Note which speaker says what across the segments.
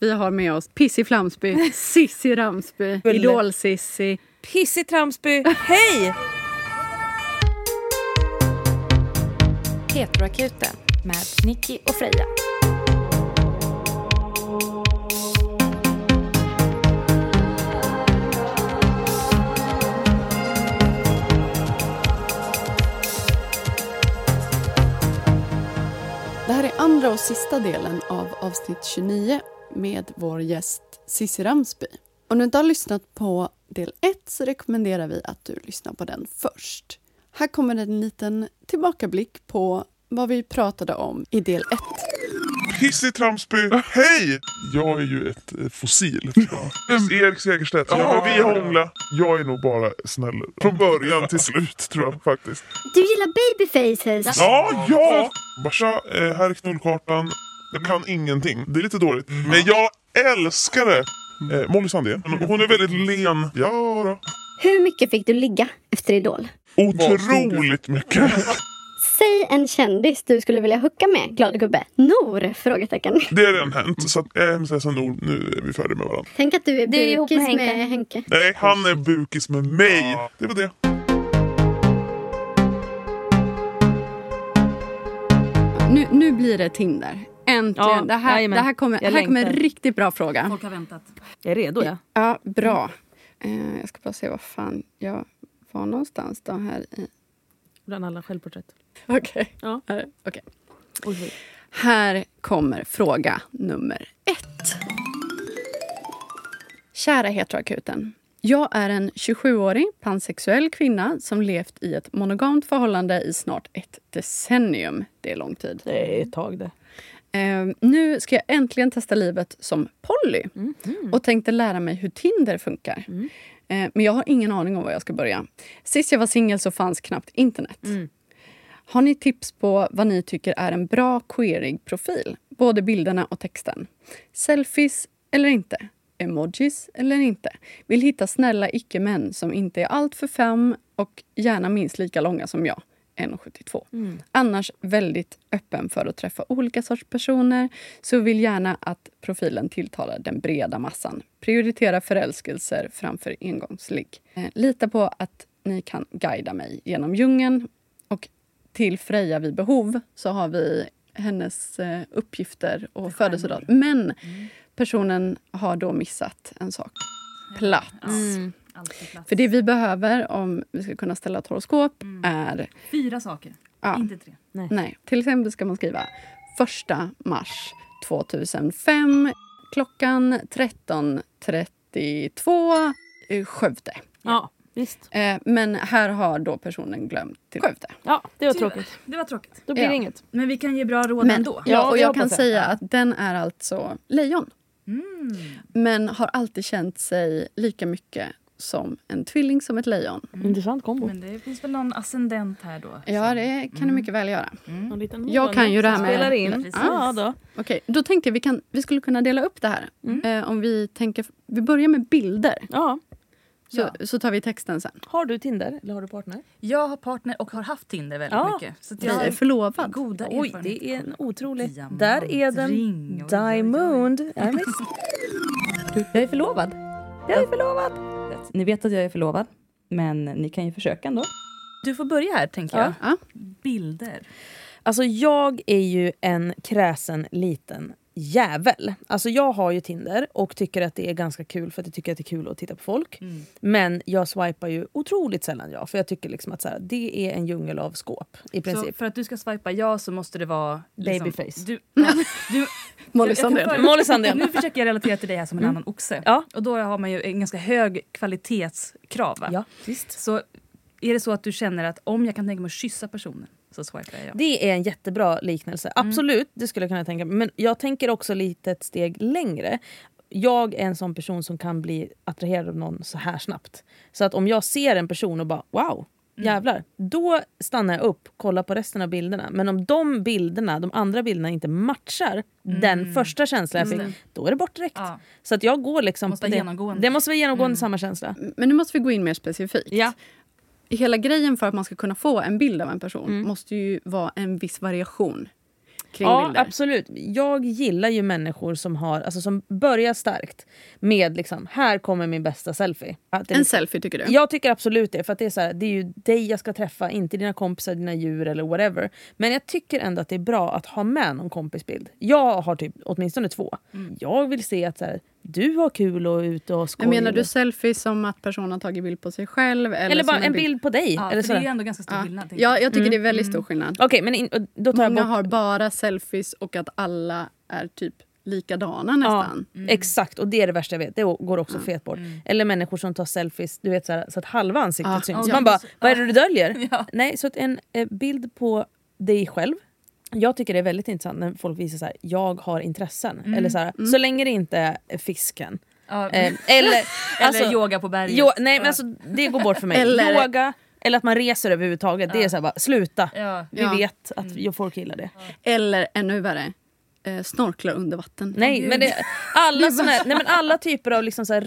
Speaker 1: Vi har med oss Pissi Flamsby, Sissi Ramsby,
Speaker 2: Bulle.
Speaker 1: Idol-Sissi.
Speaker 2: Pissig Tramsby, hej!
Speaker 3: Heteroakuten med Nicky och Freja.
Speaker 4: Det här är andra och sista delen av avsnitt 29 med vår gäst Cissi Ramsby. Om du inte har lyssnat på del 1 så rekommenderar vi att du lyssnar på den först. Här kommer en liten tillbakablick på vad vi pratade om i del 1.
Speaker 5: Pissi Tramsby, hej! Jag är ju ett eh, fossil. tror jag. Vem- Erik Segerstedt, ja, vi hångla. Jag är nog bara snäll. Från början till slut tror jag faktiskt.
Speaker 6: Du gillar babyfaces.
Speaker 5: Ja, ja! Barsa, eh, här är knullkartan. Jag kan ingenting. Det är lite dåligt. Men jag älskar det! Eh, Molly Sandén. Hon är väldigt len. Ja, då.
Speaker 6: Hur mycket fick du ligga efter Idol?
Speaker 5: Otroligt mycket.
Speaker 6: Säg en kändis du skulle vilja hucka med, glada gubbe. Nor? Frågetecken.
Speaker 5: Det har redan hänt. Så att eh, jag är hemskt ledsen Nord, nu är vi färdiga med varandra.
Speaker 6: Tänk att du är
Speaker 3: Du är ihop
Speaker 6: bukis
Speaker 3: med Henke.
Speaker 6: med Henke.
Speaker 5: Nej, han är bukis med mig. Det var det.
Speaker 4: Nu, nu blir det Tinder.
Speaker 1: Äntligen!
Speaker 2: Ja,
Speaker 1: det, här,
Speaker 2: jajamän.
Speaker 1: det här kommer,
Speaker 2: Jag
Speaker 1: här kommer en
Speaker 2: längtar.
Speaker 1: riktigt bra fråga.
Speaker 7: Folk har väntat.
Speaker 2: Jag är redo, ja.
Speaker 1: Ja, bra. Eh, jag ska bara se vad fan jag var någonstans då här i...
Speaker 2: Bland alla självporträtt.
Speaker 1: Okej.
Speaker 2: Ja.
Speaker 1: Här, okej.
Speaker 2: Oj, oj.
Speaker 1: Här kommer fråga nummer ett. Kära Heteroakuten. Jag är en 27-årig pansexuell kvinna som levt i ett monogamt förhållande i snart ett decennium. Det är lång tid.
Speaker 2: Det är ett tag det.
Speaker 1: Eh, nu ska jag äntligen testa livet som Polly och tänkte lära mig hur Tinder funkar. Eh, men jag har ingen aning om var jag ska börja. Sist jag var singel så fanns knappt internet. Har ni tips på vad ni tycker är en bra queerig profil? Både bilderna och texten. Selfies eller inte? Emojis eller inte? Vill hitta snälla icke-män som inte är allt för fem och gärna minst lika långa som jag. 1,72. Annars väldigt öppen för att träffa olika sorts personer så vill gärna att profilen tilltalar den breda massan. Prioritera förälskelser framför engångsligg. Eh, Lita på att ni kan guida mig genom djungeln och till Freja vid behov så har vi hennes eh, uppgifter och födelsedag. Men personen har då missat en sak. Plats.
Speaker 2: Mm.
Speaker 7: Alltid plats.
Speaker 1: För det vi behöver om vi ska kunna ställa ett horoskop är...
Speaker 7: Fyra saker,
Speaker 1: Ja.
Speaker 7: inte tre.
Speaker 1: Nej, till exempel ska man skriva 1 mars 2005 klockan 13.32 i eh, Skövde.
Speaker 2: Ja, visst.
Speaker 1: Eh, Men här har då personen glömt till Skövde.
Speaker 2: Ja, det var
Speaker 7: Tyvärr.
Speaker 2: tråkigt.
Speaker 7: Det var tråkigt.
Speaker 2: Då blir
Speaker 1: Ja.
Speaker 2: det inget.
Speaker 7: Men vi kan ge bra råd
Speaker 1: Men,
Speaker 7: ändå.
Speaker 1: ja, och
Speaker 2: det
Speaker 1: jag
Speaker 2: hoppas
Speaker 1: kan
Speaker 2: jag.
Speaker 1: säga att den är alltså lejon.
Speaker 7: Mm.
Speaker 1: Men har alltid känt sig lika mycket som en tvilling som ett lejon.
Speaker 2: Intressant kombo.
Speaker 7: Men det finns väl någon ascendent här då?
Speaker 1: Ja,
Speaker 7: som-
Speaker 1: det kan det mycket väl göra.
Speaker 2: En liten
Speaker 1: Jag kan ju det här
Speaker 2: som
Speaker 1: med-
Speaker 2: Spelar in.
Speaker 7: Precis.
Speaker 2: Ja, då.
Speaker 1: Okej, då tänkte jag vi, kan, vi skulle kunna dela upp det här. Eh, om vi, tänker, vi börjar med bilder,
Speaker 2: ja.
Speaker 1: så, så tar vi texten sen.
Speaker 2: Har du Tinder eller har du partner?
Speaker 7: Jag har partner och har haft Tinder väldigt
Speaker 2: Ja.
Speaker 7: mycket. Så att
Speaker 1: Vi
Speaker 7: jag
Speaker 1: är
Speaker 7: har
Speaker 1: förlovad.
Speaker 7: goda
Speaker 2: Oj,
Speaker 7: erfarenheter.
Speaker 2: det är en otrolig...
Speaker 7: Diamant,
Speaker 2: Där är den.
Speaker 7: ring, oj, oj, oj.
Speaker 2: Diamond. Ja, visst.
Speaker 8: Jag är förlovad.
Speaker 2: Jag är förlovad.
Speaker 8: Ni vet att jag är förlovad, men ni kan ju försöka ändå.
Speaker 7: Du får börja här, tänker
Speaker 2: Ja.
Speaker 7: jag.
Speaker 1: Ja.
Speaker 7: Bilder.
Speaker 2: Alltså jag är ju en kräsen liten jävel. Alltså jag har ju Tinder och tycker att det är ganska kul för att jag tycker att det är kul att titta på folk.
Speaker 7: Mm.
Speaker 2: Men jag swipar ju otroligt sällan jag för jag tycker liksom att så här, det är en djungel av skåp i
Speaker 7: Så
Speaker 2: princip.
Speaker 7: för att du ska swipa ja så måste det vara... liksom-
Speaker 2: Babyface.
Speaker 7: Du, ja, du,
Speaker 1: Molly
Speaker 7: jag kan
Speaker 1: Sandén.
Speaker 7: föra-
Speaker 2: Molly Sandén. Mm.
Speaker 7: Nu försöker jag relatera till dig här som en annan oxe.
Speaker 2: Ja.
Speaker 7: Och då har man ju en ganska hög kvalitetskrav. va?
Speaker 2: Ja, visst.
Speaker 7: Så är det så att du känner att om jag kan tänka mig att kyssa personen så swipar jag ja. Mm.
Speaker 2: Det är en jättebra liknelse. Absolut, det skulle jag kunna tänka mig. Men jag tänker också lite ett steg längre. Jag är en sån person som kan bli attraherad av någon så här snabbt. Så att om jag ser en person och bara wow,
Speaker 7: Mm.
Speaker 2: jävlar. Då stannar jag upp, kollar på resten av bilderna. Men om de bilderna, de andra bilderna inte matchar den första känslan jag fick, då är det bort direkt.
Speaker 7: Mm. Ja.
Speaker 2: Så att jag går liksom...
Speaker 7: Måste
Speaker 2: på
Speaker 7: vara
Speaker 2: det.
Speaker 7: genomgående. Mm.
Speaker 2: det måste vara genomgående samma känsla.
Speaker 1: Men nu måste vi gå in mer specifikt.
Speaker 2: Ja.
Speaker 1: Hela grejen för att man ska kunna få en bild av en person måste ju vara en viss variation
Speaker 9: kring
Speaker 2: Mm. ja,
Speaker 9: bilder.
Speaker 2: absolut. Jag gillar ju människor som, har, alltså, som börjar starkt med liksom, här kommer min bästa selfie. Att det är
Speaker 1: En
Speaker 2: liksom-
Speaker 1: selfie tycker du?
Speaker 2: Jag tycker absolut det. För att det, är så här, det är ju dig jag ska träffa, inte dina kompisar, dina djur eller whatever. Men jag tycker ändå att det är bra att ha med någon kompisbild. Jag har typ åtminstone två. Jag vill se att så här, du har kul och är ute och skojar.
Speaker 1: Men menar du selfie som att personen har tagit bild på sig själv? Eller,
Speaker 2: eller bara
Speaker 1: som
Speaker 2: en bild på dig.
Speaker 7: Ja,
Speaker 2: eller
Speaker 7: för
Speaker 2: så
Speaker 7: det
Speaker 2: här.
Speaker 7: är ju ändå ganska stor
Speaker 1: Ja.
Speaker 7: skillnad. tänker
Speaker 1: ja, jag tycker det är väldigt stor skillnad.
Speaker 2: Okej, men in, och då tar
Speaker 1: Många
Speaker 2: jag bort...
Speaker 1: har bara selfies och att alla är typ likadana nästan.
Speaker 2: Ja, Exakt, och det är det värsta jag vet. Det går också fet bort. Eller människor som tar selfies du vet, så, här, så att halva ansiktet
Speaker 1: Ja.
Speaker 2: syns.
Speaker 7: Ja,
Speaker 2: Man
Speaker 7: det
Speaker 2: bara,
Speaker 7: är så-
Speaker 2: vad är det du döljer?
Speaker 7: Ja.
Speaker 2: Nej, så att en eh, bild på dig själv. Jag tycker det är väldigt intressant när folk visar så här, jag har intressen. Eller så, här, så länge det inte är fisken. Eh,
Speaker 7: Ja.
Speaker 2: eller
Speaker 7: Eller
Speaker 2: alltså,
Speaker 7: yoga på berget.
Speaker 2: jo, nej, men alltså, det går bort för mig.
Speaker 1: Eller-
Speaker 2: Yoga, eller att man reser överhuvudtaget. Det är så här, bara, sluta.
Speaker 7: Ja.
Speaker 2: Vi
Speaker 1: Ja.
Speaker 2: vet att mm. folk gillar det.
Speaker 1: Eller ännu värre, eh, snorklar under vatten.
Speaker 2: Nej, men det, alla, såna, här- nej men alla typer av liksom så här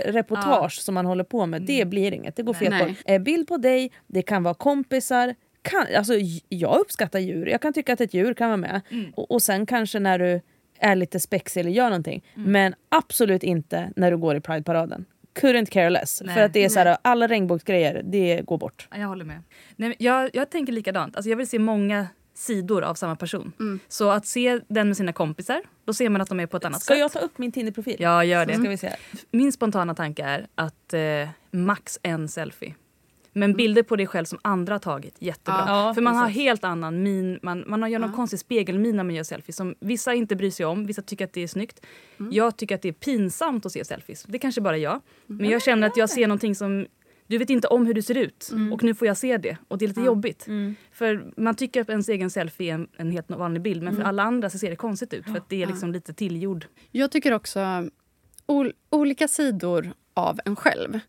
Speaker 2: resereportage som man håller på med,
Speaker 7: Mm.
Speaker 2: det blir inget. Det går fel
Speaker 1: Nej.
Speaker 2: på. Eh, Bild på dig, det kan vara kompisar. Kan, alltså, j- jag uppskattar djur, jag kan tycka att ett djur kan vara med.
Speaker 7: Mm.
Speaker 2: Och, och sen kanske när du är lite spexig eller gör någonting.
Speaker 7: Mm.
Speaker 2: Men absolut inte när du går i Pride-paraden. Couldn't care less.
Speaker 7: Nej.
Speaker 2: För att det är så här, alla regnbågsgrejer, det går bort.
Speaker 7: Ja, Jag håller med. Nej, men jag, jag tänker likadant. Alltså, jag vill se många sidor av samma person.
Speaker 2: Mm.
Speaker 7: Så att se den med sina kompisar, då ser man att de är på ett annat
Speaker 2: Ska
Speaker 7: sätt.
Speaker 2: jag ta upp min Tinder-profil?
Speaker 7: Ja, gör det.
Speaker 2: Ska vi se.
Speaker 7: Min spontana tanke är att eh, max en selfie.
Speaker 1: Mm.
Speaker 7: Men bilder på dig själv som andra har tagit, jättebra.
Speaker 2: Ja,
Speaker 7: För man har
Speaker 2: precis.
Speaker 7: helt annan min, man, man gör någon konstig spegelmin när man gör selfies. Som vissa inte bryr sig om, vissa tycker att det är snyggt.
Speaker 1: Mm.
Speaker 7: Jag tycker att det är pinsamt att se selfies. Det kanske bara jag. Men jag känner att jag ser någonting som du vet inte om hur du ser ut
Speaker 1: Mm.
Speaker 7: och nu får jag se det och det är lite jobbigt. För man tycker att ens egen selfie är en, en helt vanlig bild
Speaker 1: Mm.
Speaker 7: men för alla andra så ser det konstigt ut för att det är liksom lite tillgjord.
Speaker 1: Jag tycker också ol olika sidor av en själv.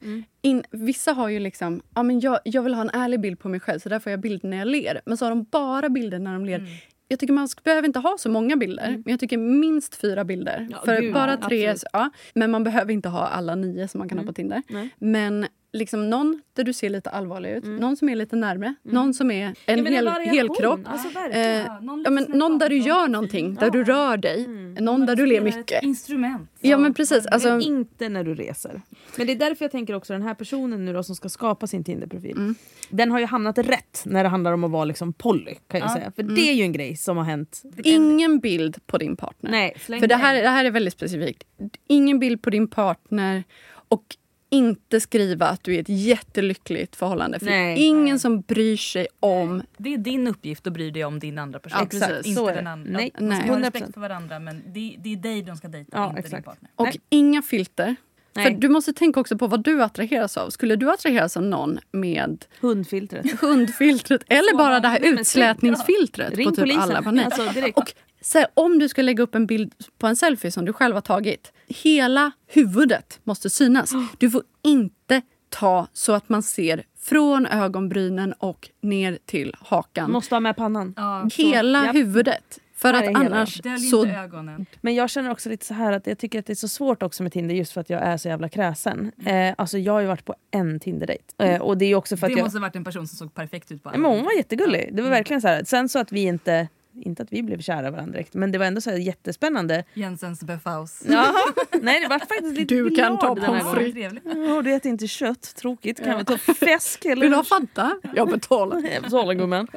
Speaker 1: In, vissa har ju liksom, ja, men jag, jag vill ha en ärlig bild på mig själv så där får jag bild när jag ler. Men så har de bara bilder när de ler. Jag tycker man ska, behöver inte ha så många bilder, men jag tycker minst fyra bilder. För bara tre, så- Mm. ja, Mm. men man behöver inte ha alla nio som man kan ha på Tinder. Men liksom någon där du ser lite allvarlig ut, någon som är lite närmre, någon som är en
Speaker 2: men en
Speaker 1: hel,
Speaker 2: variation.
Speaker 1: helkropp.
Speaker 7: Alltså
Speaker 1: Eh, ja, men någon där du gör någonting, där du rör dig, någon där du ler mycket.
Speaker 7: instrument.
Speaker 1: Ja men precis. Alltså,
Speaker 2: Men inte när du reser. Men det är därför jag tänker också den här personen nu då som ska skapa sin Tinder-profil.
Speaker 1: Mm.
Speaker 2: Den har ju hamnat rätt när det handlar om att vara liksom Polly kan jag säga. För
Speaker 1: Mm.
Speaker 2: det är ju en grej som har hänt.
Speaker 1: ingen bild på din partner.
Speaker 2: Nej,
Speaker 1: För det här, det här är väldigt specifikt. Ingen bild på din partner och inte skriva att du är i ett jättelyckligt förhållande. För det är
Speaker 2: Nej.
Speaker 1: ingen som bryr sig om...
Speaker 7: Det är din uppgift att bry dig om din andra person.
Speaker 1: Ja, precis.
Speaker 7: Inte
Speaker 2: Så är
Speaker 7: den
Speaker 2: det.
Speaker 7: andra.
Speaker 2: Nej,
Speaker 7: Man ska
Speaker 1: nej.
Speaker 7: ha respekt
Speaker 2: 100%.
Speaker 7: för varandra men det, det är dig de ska dejta,
Speaker 2: Ja,
Speaker 7: inte din
Speaker 2: exakt.
Speaker 7: partner.
Speaker 1: Och
Speaker 2: Nej.
Speaker 1: inga filter.
Speaker 2: Nej.
Speaker 1: För Du måste tänka också på vad du attraheras av. Skulle du attraheras av någon med
Speaker 2: Hundfiltret.
Speaker 1: hundfiltret eller bara det här
Speaker 2: nej, men sluta.
Speaker 1: utslätningsfiltret
Speaker 2: typ- Ring
Speaker 1: på typ
Speaker 2: polisen.
Speaker 1: alla panik.
Speaker 2: Alltså, direkt.
Speaker 1: och så här, om du ska lägga upp en bild på en selfie som du själv har tagit. Hela huvudet måste synas. Du får inte ta så att man ser från ögonbrynen och ner till hakan.
Speaker 2: Måste ha med pannan.
Speaker 1: hela
Speaker 2: ja.
Speaker 1: huvudet. För
Speaker 2: Här är
Speaker 1: att
Speaker 2: hela.
Speaker 1: annars
Speaker 7: Dölj
Speaker 1: så...
Speaker 7: inte ögonen.
Speaker 2: Men jag känner också lite så här att jag tycker att det är så svårt också med Tinder just för att jag är så jävla kräsen. Eh, alltså jag har ju varit på en Tinder-dejt. Eh, och det är ju också för att
Speaker 7: Mm. Det
Speaker 2: jag...
Speaker 7: måste ha varit en person som såg perfekt ut på alla.
Speaker 2: Nej, men hon var jättegullig. Det
Speaker 1: Mm.
Speaker 2: var verkligen så här. Sen så att vi inte... Inte att vi blev kära varandra direkt, men det var ändå så här jättespännande.
Speaker 7: Jensens Befaus.
Speaker 2: Jaha. Nej, det var faktiskt lite
Speaker 1: Du kan
Speaker 2: glad
Speaker 1: ta
Speaker 2: den här
Speaker 1: pommes
Speaker 2: gången.
Speaker 1: frites.
Speaker 7: Trevligt.
Speaker 2: Ja, du äter inte kött, tråkigt. Kan vi ta fläsk eller?
Speaker 1: Vill du ha Fanta? Jag betalar.
Speaker 2: Jag betalar, gumman.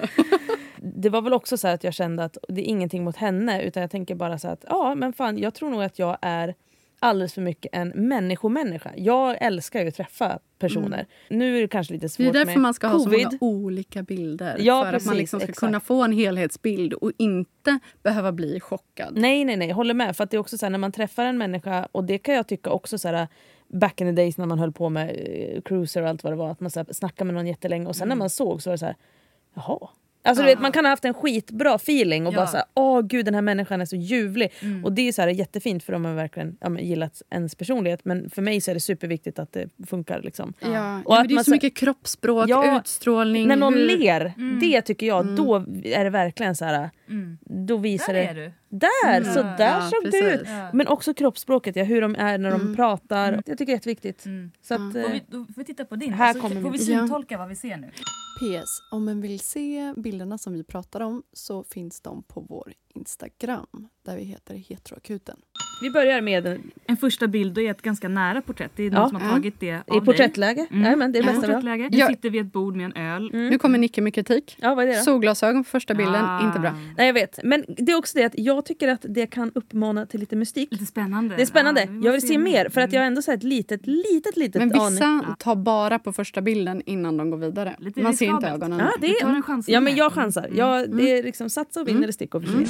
Speaker 2: Det var väl också så här att jag kände att det är ingenting mot henne utan jag tänker bara så här att ja men fan jag tror nog att jag är alldeles för mycket en människomänniska. Jag älskar ju att träffa personer. Nu är det kanske lite svårt
Speaker 1: Mm. Det är därför
Speaker 2: med
Speaker 1: man ska ha så
Speaker 2: covid.
Speaker 1: många olika bilder.
Speaker 2: Ja,
Speaker 1: för att man
Speaker 2: precis,
Speaker 1: liksom ska
Speaker 2: exakt.
Speaker 1: kunna få en helhetsbild och inte behöva bli chockad.
Speaker 2: Nej, nej, nej. Håller med. För att det är också så här, när man träffar en människa, och det kan jag tycka också så här, back in the days när man höll på med eh, cruiser och allt vad det var, att man så här, snackade med någon jättelänge och sen när man såg så var det så här, jaha. Alltså, du vet, man kan ha haft en skitbra feeling och
Speaker 7: Ja.
Speaker 2: bara så här, åh gud den här människan är så ljuvlig. Och det är så här, jättefint för de har verkligen ja, men, gillat ens personlighet men för mig så är det superviktigt att det funkar. Liksom.
Speaker 1: Ja. Ja,
Speaker 2: Och
Speaker 1: men
Speaker 2: att
Speaker 1: det är
Speaker 2: man
Speaker 1: så
Speaker 2: så-
Speaker 1: mycket kroppsspråk,
Speaker 2: Ja,
Speaker 1: utstrålning.
Speaker 2: När någon
Speaker 1: hur-
Speaker 2: ler, det tycker jag, då är det verkligen så här, då visar
Speaker 7: Mm. Där är
Speaker 2: det...
Speaker 7: du.
Speaker 2: där, så där
Speaker 1: Ja,
Speaker 2: såg det
Speaker 1: precis.
Speaker 2: ut. Men också kroppsspråket, ja, hur de är när de
Speaker 1: Mm.
Speaker 2: pratar.
Speaker 7: Mm.
Speaker 2: Jag tycker det är jätteviktigt.
Speaker 7: Mm.
Speaker 2: Så att,
Speaker 7: Får
Speaker 2: eh,
Speaker 7: vi, då får vi titta på din?
Speaker 2: Här
Speaker 7: så
Speaker 2: kommer
Speaker 7: får vi
Speaker 2: min.
Speaker 7: syntolka vad vi ser nu?
Speaker 1: PS. Om man vill se bilderna som vi pratar om så finns de på vår Instagram där vi heter heteroakuten.
Speaker 2: vi börjar med eh, en-
Speaker 7: En första bild då är ett ganska nära porträtt. Det är någon
Speaker 2: Ja.
Speaker 7: som har
Speaker 1: Ja.
Speaker 7: tagit det av
Speaker 2: i porträttläge.
Speaker 7: Mm.
Speaker 2: Jajamän, det är det
Speaker 7: dig.
Speaker 2: bästa vi har.
Speaker 7: Porträttläge. Du
Speaker 10: Ja.
Speaker 7: sitter vid ett bord med en öl.
Speaker 2: Mm.
Speaker 10: Nu kommer Nicke med kritik.
Speaker 2: Ja, vad är det då?
Speaker 10: Solglasögon på första bilden,
Speaker 7: Ah.
Speaker 10: inte bra.
Speaker 2: Nej, jag vet. Men det är också det att jag tycker att det kan uppmana till lite mystik.
Speaker 7: Lite spännande.
Speaker 2: Det är spännande.
Speaker 7: Ja, vi måste
Speaker 2: jag vill se mer för att jag har ändå så här ett litet, litet, litet
Speaker 10: Men
Speaker 2: aning.
Speaker 10: vissa tar bara på första bilden innan de går vidare.
Speaker 7: Lite
Speaker 10: Man ser inte
Speaker 7: riskabelt.
Speaker 10: ögonen.
Speaker 2: Ja,
Speaker 10: där.
Speaker 2: det
Speaker 7: Vi tar en
Speaker 2: är,
Speaker 7: chansning
Speaker 2: ja, men
Speaker 7: här.
Speaker 2: jag chansar.
Speaker 7: Mm.
Speaker 2: Jag, det är liksom satsa och vinna eller stick och försvinn.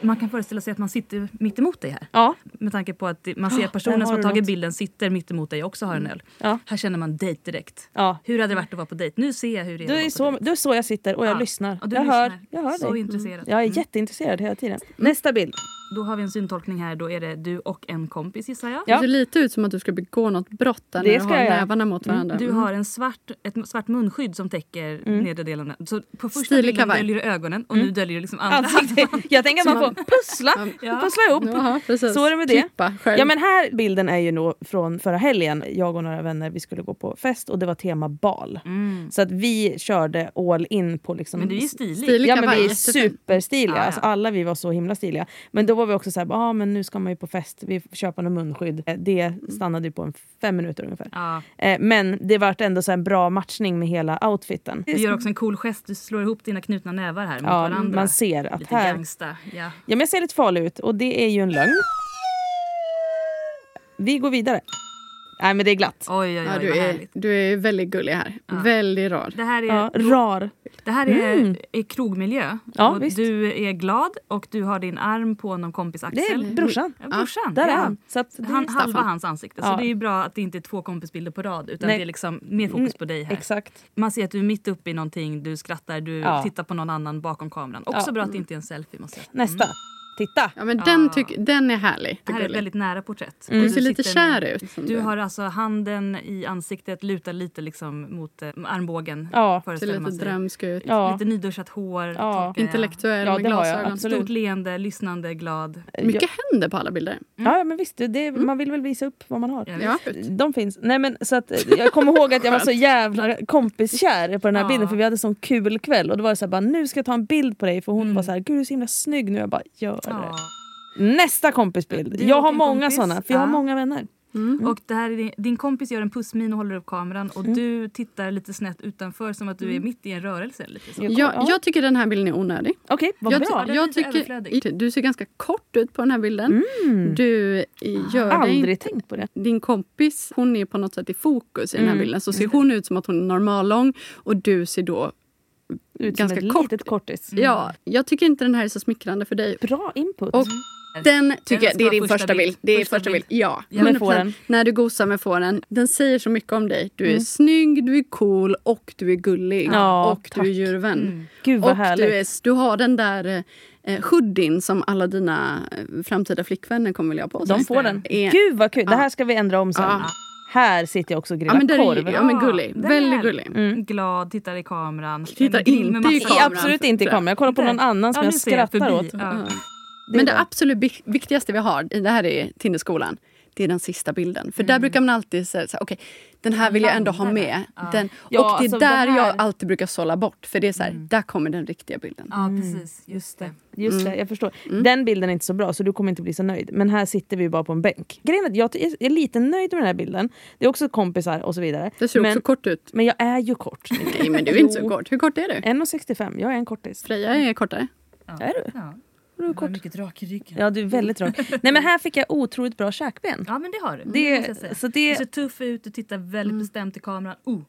Speaker 7: Man kan föreställa sig att man sitter mitt emot dig här.
Speaker 2: Ja,
Speaker 7: Med tanke på att det- man ser att
Speaker 2: där
Speaker 7: personen
Speaker 2: har
Speaker 7: som har
Speaker 2: du
Speaker 7: tagit
Speaker 2: något.
Speaker 7: bilden sitter mitt emot dig och också har en öl.
Speaker 2: Ja.
Speaker 7: Här känner man dejt direkt.
Speaker 2: ja.
Speaker 7: Hur hade det varit att vara på dejt? Nu ser jag hur det är,
Speaker 2: Det, är
Speaker 7: att vara
Speaker 2: så,
Speaker 7: på
Speaker 2: det är så jag sitter och jag
Speaker 7: Ja.
Speaker 2: lyssnar.
Speaker 7: Ja, du
Speaker 2: jag,
Speaker 7: lyssnar.
Speaker 2: Hör, jag hör
Speaker 7: Så
Speaker 2: dig.
Speaker 7: intresserad.
Speaker 2: Jag är
Speaker 7: Mm.
Speaker 2: jätteintresserad hela tiden. Nästa bild.
Speaker 7: Då har vi en syntolkning här. Då är det du och en kompis gissar jag.
Speaker 2: Ja.
Speaker 10: Det ser lite ut som att du ska begå något brott där
Speaker 2: Det
Speaker 10: när du
Speaker 2: ska
Speaker 10: har
Speaker 2: jag göra.
Speaker 10: nävarna mot varandra.
Speaker 7: Du
Speaker 10: Mm.
Speaker 7: har en svart, ett svart munskydd som täcker
Speaker 2: Mm.
Speaker 7: nedre delen. Så på första
Speaker 10: Stilig
Speaker 7: bilden
Speaker 10: kavaj.
Speaker 7: döljer du ögonen och nu döljer du liksom andra.
Speaker 2: Ansikte. Alltså, Jag tänker att man får pussla,
Speaker 7: Ja.
Speaker 2: pussla ihop.
Speaker 10: Jaha, precis.
Speaker 2: Så är det med det.
Speaker 10: Klippa själv.
Speaker 2: Ja men här bilden är ju nog från förra helgen. Jag och några vänner vi skulle gå på fest och det var tema bal.
Speaker 7: Mm.
Speaker 2: Så att vi körde all in på liksom...
Speaker 7: Men du är ju stilig.
Speaker 10: Stilig
Speaker 2: Ja men
Speaker 10: kavaj,
Speaker 2: vi är
Speaker 10: jättefin.
Speaker 2: superstiliga.
Speaker 7: Ja, ja.
Speaker 2: Alltså, alla vi var så himla stiliga. Men då var vi också såhär, ah, men nu ska man ju på fest, vi köper något munskydd. Eh, Det stannade ju på en fem minuter ungefär.
Speaker 7: Ja.
Speaker 2: Eh, Men det vart ändå så här en bra matchning med hela outfiten.
Speaker 7: Du gör också en cool gest. Du slår ihop dina knutna nävar här mot
Speaker 2: Ja,
Speaker 7: varandra.
Speaker 2: man ser att
Speaker 7: Lite
Speaker 2: här...
Speaker 7: gangsta. Ja.
Speaker 2: Ja, men jag ser lite farlig ut och det är ju en lögn. Vi går vidare. Nej, men det är glatt.
Speaker 7: Oj, oj, oj,
Speaker 10: Ja,
Speaker 7: vad
Speaker 10: du, är,
Speaker 7: härligt.
Speaker 10: du är väldigt gullig här. Väldigt rar.
Speaker 7: Det här är,
Speaker 2: Ja, rar.
Speaker 7: det här är,
Speaker 2: Mm.
Speaker 7: är krogmiljö.
Speaker 2: Ja,
Speaker 7: och
Speaker 2: visst.
Speaker 7: du är glad och du har din arm på någon kompis axel.
Speaker 2: Det är brorsan.
Speaker 7: Ja, brorsan.
Speaker 2: Där
Speaker 7: ja.
Speaker 2: är han. Så att det är
Speaker 7: Han,
Speaker 2: Staffan.
Speaker 7: halva hans ansikte. Så
Speaker 2: Ja.
Speaker 7: det är ju bra att det inte är två kompisbilder på rad utan
Speaker 2: Nej. Mm.
Speaker 7: det är liksom mer fokus på dig här.
Speaker 2: Exakt.
Speaker 7: Man ser att du är mitt uppe i någonting, du skrattar, du
Speaker 2: Ja.
Speaker 7: tittar på någon annan bakom kameran. Också
Speaker 2: Ja.
Speaker 7: bra att det inte är en selfie måste jag säga.
Speaker 2: Nästa. Titta.
Speaker 10: Ja, men den,
Speaker 7: Ah.
Speaker 10: tyck, den är härlig.
Speaker 7: Det här är ett
Speaker 10: gullig.
Speaker 7: väldigt nära porträtt.
Speaker 2: Mm.
Speaker 10: Du ser lite
Speaker 7: sitter med-
Speaker 10: kär ut. som
Speaker 7: Du har alltså handen i ansiktet, lutar lite liksom mot eh, armbågen.
Speaker 2: Ja,
Speaker 10: ser
Speaker 7: föreställer
Speaker 10: lite
Speaker 7: man sig.
Speaker 10: drömsk ut.
Speaker 2: Ja.
Speaker 7: Lite nyduschat hår. tolkar jag.
Speaker 10: Intellektuell
Speaker 2: Ja,
Speaker 10: med
Speaker 2: det har jag,
Speaker 10: glasögon.
Speaker 2: absolut.
Speaker 7: Stort leende, lyssnande, glad.
Speaker 10: Mycket händer på alla bilder.
Speaker 2: Ja, ja, men visst. Det, det, man vill väl visa upp vad man har.
Speaker 7: Mm. Ja,
Speaker 10: Ja.
Speaker 2: De finns. Nej, men, så att, eh, jag kommer ihåg att jag var så jävla kompiskär på den här
Speaker 7: Ja.
Speaker 2: bilden för vi hade sån kul kväll. Och då var det så här, bara, nu ska jag ta en bild på dig för hon var så här, gud du är så himla snygg nu. Jag bara, gör det.
Speaker 7: Mm. Ja.
Speaker 2: Nästa kompisbild.
Speaker 7: Du
Speaker 2: Jag
Speaker 7: och
Speaker 2: har
Speaker 7: din
Speaker 2: många
Speaker 7: kompis.
Speaker 2: såna, för jag har
Speaker 7: Ja.
Speaker 2: många vänner. Mm.
Speaker 7: Och det här är din, din kompis gör en pussmin och håller upp kameran och du tittar lite snett utanför som att du
Speaker 2: Mm.
Speaker 7: är mitt i en rörelse. Lite så.
Speaker 10: Jag, jag tycker den här bilden är onödig.
Speaker 2: Okej, vad
Speaker 10: jag,
Speaker 2: bra.
Speaker 10: ty-
Speaker 7: Den är
Speaker 10: jag
Speaker 7: lite
Speaker 10: tycker,
Speaker 7: överflödig.
Speaker 10: du ser ganska kort ut på den här bilden. Du i- gör dig
Speaker 2: Mm. Aldrig tänkt på det.
Speaker 10: din kompis hon är på något sätt i fokus i den
Speaker 2: Mm.
Speaker 10: här bilden. Så ser hon ut som att hon är normallång och du ser
Speaker 2: Mm.
Speaker 10: då...
Speaker 2: Ut
Speaker 10: Ganska
Speaker 2: Ganska ett
Speaker 10: kort. Mm.
Speaker 2: litet kortis.
Speaker 10: Ja, jag tycker inte den här är så smickrande för dig.
Speaker 2: Bra input.
Speaker 10: Och- Den tycker jag,
Speaker 7: Mm. ska
Speaker 10: det är
Speaker 7: vara
Speaker 10: din
Speaker 7: första
Speaker 10: första bild.
Speaker 7: bild.
Speaker 10: Det är
Speaker 7: Första
Speaker 10: första bild.
Speaker 7: bild.
Speaker 10: Ja,
Speaker 7: Ja.
Speaker 2: Med fåren.
Speaker 10: 100%. När du gosar med fåren. Den säger så mycket om dig. Du är snygg, du är cool och du är gullig.
Speaker 2: Mm. Ja,
Speaker 10: och
Speaker 2: tack.
Speaker 10: du är djurvän.
Speaker 2: Gud vad
Speaker 10: Och
Speaker 2: härligt.
Speaker 10: du, är, du har den där eh, hoodien som alla dina eh, framtida flickvänner kommer vilja ha på sig.
Speaker 2: De får den.
Speaker 10: Är,
Speaker 2: Gud vad kul. Det
Speaker 10: Ja.
Speaker 2: här ska vi ändra om sen.
Speaker 10: Ja.
Speaker 2: Här sitter jag också och
Speaker 10: ja,
Speaker 2: grillar
Speaker 10: men där
Speaker 2: korv.
Speaker 10: är, ja, men gullig.
Speaker 7: Ja, där.
Speaker 10: Väldigt gullig.
Speaker 2: Mm.
Speaker 7: Glad, tittar i kameran.
Speaker 10: Tittar
Speaker 7: En grill med
Speaker 10: inte i
Speaker 7: massa-
Speaker 2: I,
Speaker 10: kameran.
Speaker 2: absolut inte i kameran. Jag kollar på någon annan som
Speaker 7: Ja,
Speaker 2: jag
Speaker 7: nu ser jag
Speaker 2: skrattar
Speaker 7: förbi.
Speaker 2: åt. Mm.
Speaker 7: Ja.
Speaker 2: är
Speaker 10: Men det
Speaker 2: bra.
Speaker 10: absolut vik- viktigaste vi har, i det här är Tinderskolan, det är den sista bilden. För
Speaker 2: Mm.
Speaker 10: där brukar man alltid säga så här, okej, den här vill jag ändå ha
Speaker 7: Landar
Speaker 10: med.
Speaker 7: den. Ja.
Speaker 10: Den,
Speaker 2: Ja,
Speaker 10: och det är
Speaker 2: alltså det
Speaker 10: där
Speaker 2: här- Mm.
Speaker 10: jag alltid brukar sålla bort, för det är så här, där kommer den riktiga bilden.
Speaker 7: Ja, precis. Just det.
Speaker 2: Just
Speaker 10: Mm.
Speaker 2: det, jag förstår. Den bilden är inte så bra så du kommer inte bli så nöjd. Men här sitter vi bara på en bänk. Grejen är att jag ty- är lite nöjd med den här bilden. Det är också kompisar och så vidare.
Speaker 10: Det ser
Speaker 2: men,
Speaker 10: också kort ut.
Speaker 2: men jag är ju kort. Nicky.
Speaker 10: Nej, men du är inte så
Speaker 2: Jo.
Speaker 10: kort. Hur kort är du?
Speaker 2: 1,65. Jag är en kortis.
Speaker 10: Eh, Freja är kortare.
Speaker 2: Är du?
Speaker 7: Ja.
Speaker 2: Du är
Speaker 7: Du har
Speaker 2: kort.
Speaker 7: mycket rak i ryggen.
Speaker 2: Ja, du är väldigt rak. Nej, men här fick jag otroligt bra käkben.
Speaker 7: Ja, men det har du. Det, måste jag säga.
Speaker 2: Det, så
Speaker 7: Du
Speaker 2: det, Mm.
Speaker 7: ser tuff ut, du tittar väldigt bestämt i kameran. Oh.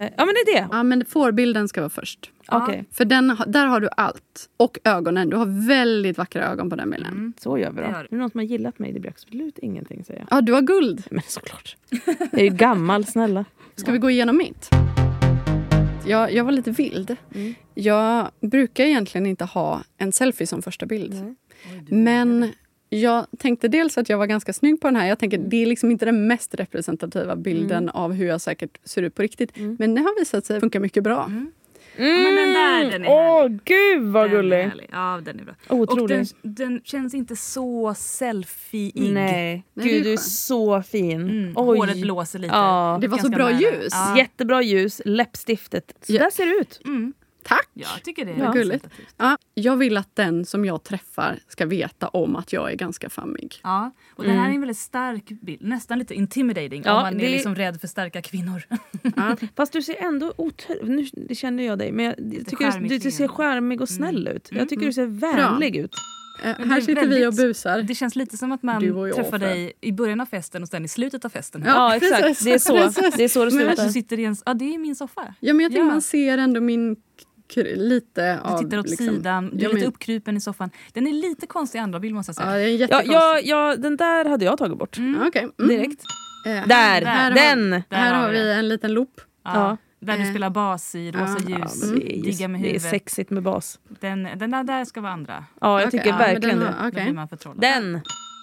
Speaker 2: eh, ja, men det är det.
Speaker 10: Ja, men fårbilden ska vara först.
Speaker 2: Okej,
Speaker 10: För den, ha- där har du allt. Och ögonen. Du har väldigt vackra ögon på den bilden.
Speaker 2: så gör vi då.
Speaker 7: Det
Speaker 2: Det
Speaker 7: gör du.
Speaker 2: är det någon som har gillat mig. Det blir absolut ingenting, säger jag.
Speaker 10: Ja, du har guld.
Speaker 2: Men såklart. Jag är ju gammal, snälla.
Speaker 10: Ska vi gå igenom mitt? Jag, jag var lite vild.
Speaker 2: Mm.
Speaker 10: Jag brukar egentligen inte ha en selfie som första bild. Men Jag tänkte dels att jag var ganska snygg på den här. Jag tänker
Speaker 2: Mm.
Speaker 10: Det är liksom inte den mest representativa bilden av hur jag säkert ser ut på riktigt.
Speaker 2: Mm.
Speaker 10: Men det har visat sig funka mycket bra.
Speaker 7: Ja, men den där, den är
Speaker 2: Mm. Åh
Speaker 7: härlig.
Speaker 2: gud vad
Speaker 7: Den är
Speaker 2: gullig!
Speaker 7: härlig. Ja, den är bra. Och den,
Speaker 2: Otrolig.
Speaker 7: den känns inte så selfie-ig.
Speaker 2: Nej,
Speaker 10: Nej, det är
Speaker 2: gud du är
Speaker 10: skönt.
Speaker 2: så fin.
Speaker 7: Mm,
Speaker 2: Oj.
Speaker 7: håret blåser lite.
Speaker 2: Ja.
Speaker 10: Det var så
Speaker 7: Ganska
Speaker 10: bra
Speaker 7: nära.
Speaker 10: ljus.
Speaker 7: Ja.
Speaker 2: Jättebra ljus, läppstiftet. Så
Speaker 10: Ja.
Speaker 2: där ser det ut.
Speaker 7: Mm.
Speaker 10: Tack!
Speaker 7: Ja, jag tycker det är
Speaker 10: Vad gulligt.
Speaker 7: representativt.
Speaker 10: Ja, jag vill att den som jag träffar ska veta om att jag är ganska fammig.
Speaker 7: Ja, och den
Speaker 10: Mm.
Speaker 7: här är en väldigt stark bild. Nästan lite intimidating
Speaker 2: Ja,
Speaker 7: om man
Speaker 2: det-
Speaker 7: är liksom rädd för starka kvinnor.
Speaker 2: Fast du ser ändå otro... Nu det känner jag dig, men jag jag tycker du,
Speaker 7: charmig
Speaker 2: du ser
Speaker 7: leende.
Speaker 2: skärmig och snäll ut. Jag tycker du ser vänlig ut.
Speaker 10: Eh,
Speaker 7: det
Speaker 10: här
Speaker 7: är
Speaker 10: sitter vi
Speaker 7: väldigt-
Speaker 10: och busar.
Speaker 7: Det känns lite som att
Speaker 10: Du
Speaker 7: man
Speaker 10: och jag,
Speaker 7: träffar
Speaker 10: Fred.
Speaker 7: dig i början av festen och sen i slutet av festen.
Speaker 10: Ja,
Speaker 2: Ja, exakt.
Speaker 10: precis.
Speaker 2: Det är så
Speaker 10: Precis.
Speaker 2: det, är så det
Speaker 10: Men-
Speaker 7: Eller
Speaker 2: slutar.
Speaker 7: så sitter i en, ja, det är min soffa.
Speaker 10: Ja, men jag tycker
Speaker 7: Ja.
Speaker 10: man ser ändå min k- lite
Speaker 7: Du
Speaker 10: av...
Speaker 7: tittar åt
Speaker 10: liksom-
Speaker 7: sidan, du är
Speaker 10: Ja,
Speaker 7: lite
Speaker 10: men-
Speaker 7: uppkrupen i soffan. Den är lite konstig i andra bild måste jag
Speaker 10: Ja,
Speaker 7: säga.
Speaker 10: det
Speaker 2: Ja,
Speaker 10: är jättekonstigt.
Speaker 2: ja, ja, den där hade jag tagit bort.
Speaker 10: Ja, Okej. Mm.
Speaker 2: Direkt.
Speaker 10: Eh,
Speaker 2: Där!
Speaker 7: Där har-
Speaker 2: den!
Speaker 7: Där
Speaker 10: här har
Speaker 7: det.
Speaker 10: vi en liten loop.
Speaker 7: Ja.
Speaker 2: Ja.
Speaker 7: Där du
Speaker 10: Eh.
Speaker 7: spelar bas i rosa
Speaker 10: Ja,
Speaker 2: Ja,
Speaker 7: ljus, Mm.
Speaker 2: men det, är just,
Speaker 7: digga med
Speaker 2: det är
Speaker 7: huvudet.
Speaker 2: sexigt med bas.
Speaker 7: Den, den där, där ska vara andra.
Speaker 2: Ja, jag
Speaker 10: Okej,
Speaker 2: tycker
Speaker 10: ja, men
Speaker 2: verkligen
Speaker 10: den
Speaker 2: det.
Speaker 10: har-
Speaker 7: Då
Speaker 10: okej.
Speaker 7: blir man förtrollad.
Speaker 2: Den!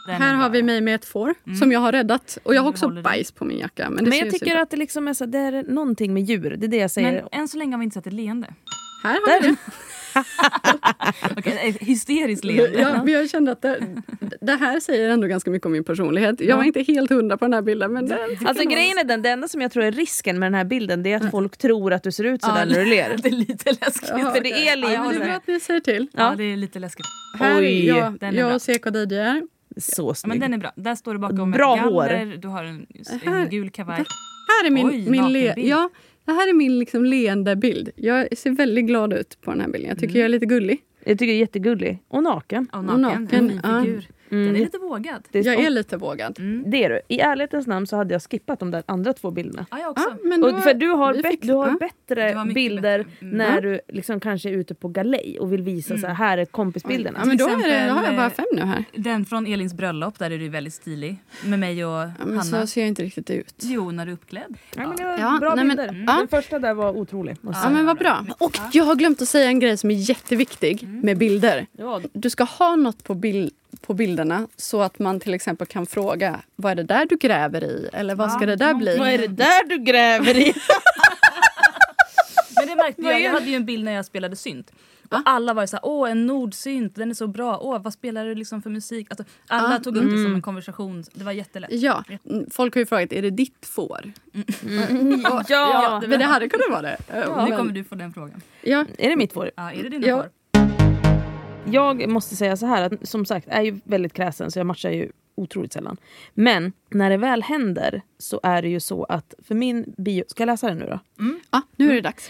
Speaker 7: Den
Speaker 10: Här
Speaker 7: är
Speaker 10: har
Speaker 7: bra.
Speaker 10: vi mig med ett får
Speaker 7: Mm.
Speaker 10: som jag har räddat. Och jag har
Speaker 7: Du
Speaker 10: också
Speaker 7: håller i.
Speaker 10: bajs på min jacka. Men, det
Speaker 2: Men
Speaker 10: ser
Speaker 2: jag
Speaker 10: ju
Speaker 2: tycker
Speaker 10: super-
Speaker 2: att det liksom är, så, det är någonting med djur. Det är det jag säger.
Speaker 7: Men än så länge har vi inte sett ett leende.
Speaker 10: Här har vi
Speaker 2: Där.
Speaker 7: Okej, ett hysteriskt
Speaker 10: det.
Speaker 7: leende.
Speaker 10: Ja, men jag kände att det, det här säger ändå ganska mycket om min personlighet. Jag var inte helt hundra på den här bilden. Men det,
Speaker 2: Alltså grejen är den, det enda som jag tror är risken med den här bilden det är att folk tror att du ser ut sådär när du ler.
Speaker 7: det är lite läskigt.
Speaker 10: Jaha,
Speaker 2: För det är
Speaker 7: Ja, jag
Speaker 10: men det är
Speaker 7: håller
Speaker 10: bra
Speaker 2: lite...
Speaker 7: med.
Speaker 10: att ni säger till.
Speaker 7: Ja.
Speaker 2: Ja.
Speaker 7: det är lite läskigt.
Speaker 10: Här
Speaker 2: Oj,
Speaker 10: är jag,
Speaker 7: den är
Speaker 10: jag
Speaker 7: bra.
Speaker 10: och CK Didier.
Speaker 2: Så snygg.
Speaker 7: Ja, men den är bra. Där står du bakom
Speaker 2: Bra
Speaker 7: ett galler.
Speaker 2: hår.
Speaker 7: Du har en,
Speaker 10: Här.
Speaker 7: en gul kavaj.
Speaker 10: Här är min,
Speaker 7: Oj,
Speaker 10: min le-
Speaker 7: nakenbild.
Speaker 10: ja, det här är min liksom leende bild. Jag ser väldigt glad ut på den här bilden. Jag tycker jag är lite gullig.
Speaker 2: Jag tycker det är jättegullig. Och naken. Mm.
Speaker 7: Och naken.
Speaker 10: naken,
Speaker 7: En fin
Speaker 10: ja.
Speaker 7: figur. Den är lite vågad. Mm.
Speaker 2: Det är,
Speaker 10: Mm. Jag är lite vågad.
Speaker 2: det är du. I ärlighetens namn så hade jag skippat de där andra två bilderna.
Speaker 7: Ja, jag också.
Speaker 10: Ja, men då-
Speaker 2: Och för du har,
Speaker 10: vi
Speaker 2: bä-
Speaker 10: fick-
Speaker 2: du har
Speaker 10: ja.
Speaker 2: bättre
Speaker 7: Du har mycket
Speaker 2: bilder
Speaker 7: bättre. Mm.
Speaker 2: när du liksom kanske är ute på galej och vill visa så här, här är kompisbilderna.
Speaker 10: Mm. Ja, men då, är det,
Speaker 7: exempel,
Speaker 10: då har jag bara
Speaker 7: eh,
Speaker 10: fem nu här.
Speaker 7: Den från Elins bröllop, där är du väldigt stilig. Med mig och
Speaker 10: Ja, men
Speaker 7: Hanna.
Speaker 10: så ser jag inte riktigt ut.
Speaker 7: Jo, när du är uppklädd.
Speaker 2: Ja, men det var
Speaker 10: Ja,
Speaker 2: bra
Speaker 10: nej, men-
Speaker 2: bilder.
Speaker 10: ja.
Speaker 2: Den första där var otrolig. måste
Speaker 10: Ja,
Speaker 2: jag
Speaker 10: men vad bra. Och jag har glömt att säga en grej som är jätteviktig med bilder.
Speaker 2: säga. Ja,
Speaker 10: Du ska ha något på, bil- på bilderna så att man till exempel kan fråga vad är det där du gräver i? Eller vad ska det där bli?
Speaker 2: Vad är det där du gräver i?
Speaker 7: Men det märkte jag. Jag hade ju en bild när jag spelade synt. Och alla var ju så här, åh en nordsynt, den är så bra. Åh, vad spelar du liksom för musik? Alltså, alla tog upp det som en konversation. Det var jättelätt.
Speaker 10: Ja, mm, folk har ju frågat är det ditt får? Mm.
Speaker 2: Ja.
Speaker 10: Ja, men det hade kunnat vara det. Ja,
Speaker 7: Nu
Speaker 10: men-
Speaker 7: kommer du få den frågan.
Speaker 10: ja.
Speaker 2: Är det mitt får?
Speaker 7: Ja, är det dina
Speaker 10: Ja.
Speaker 7: hår?
Speaker 2: Jag måste säga så här, att som sagt jag är ju väldigt kräsen så jag matchar ju otroligt sällan. Men när det väl händer så är det ju så att för min bio... Ska jag läsa den nu då?
Speaker 10: ja, nu är det dags.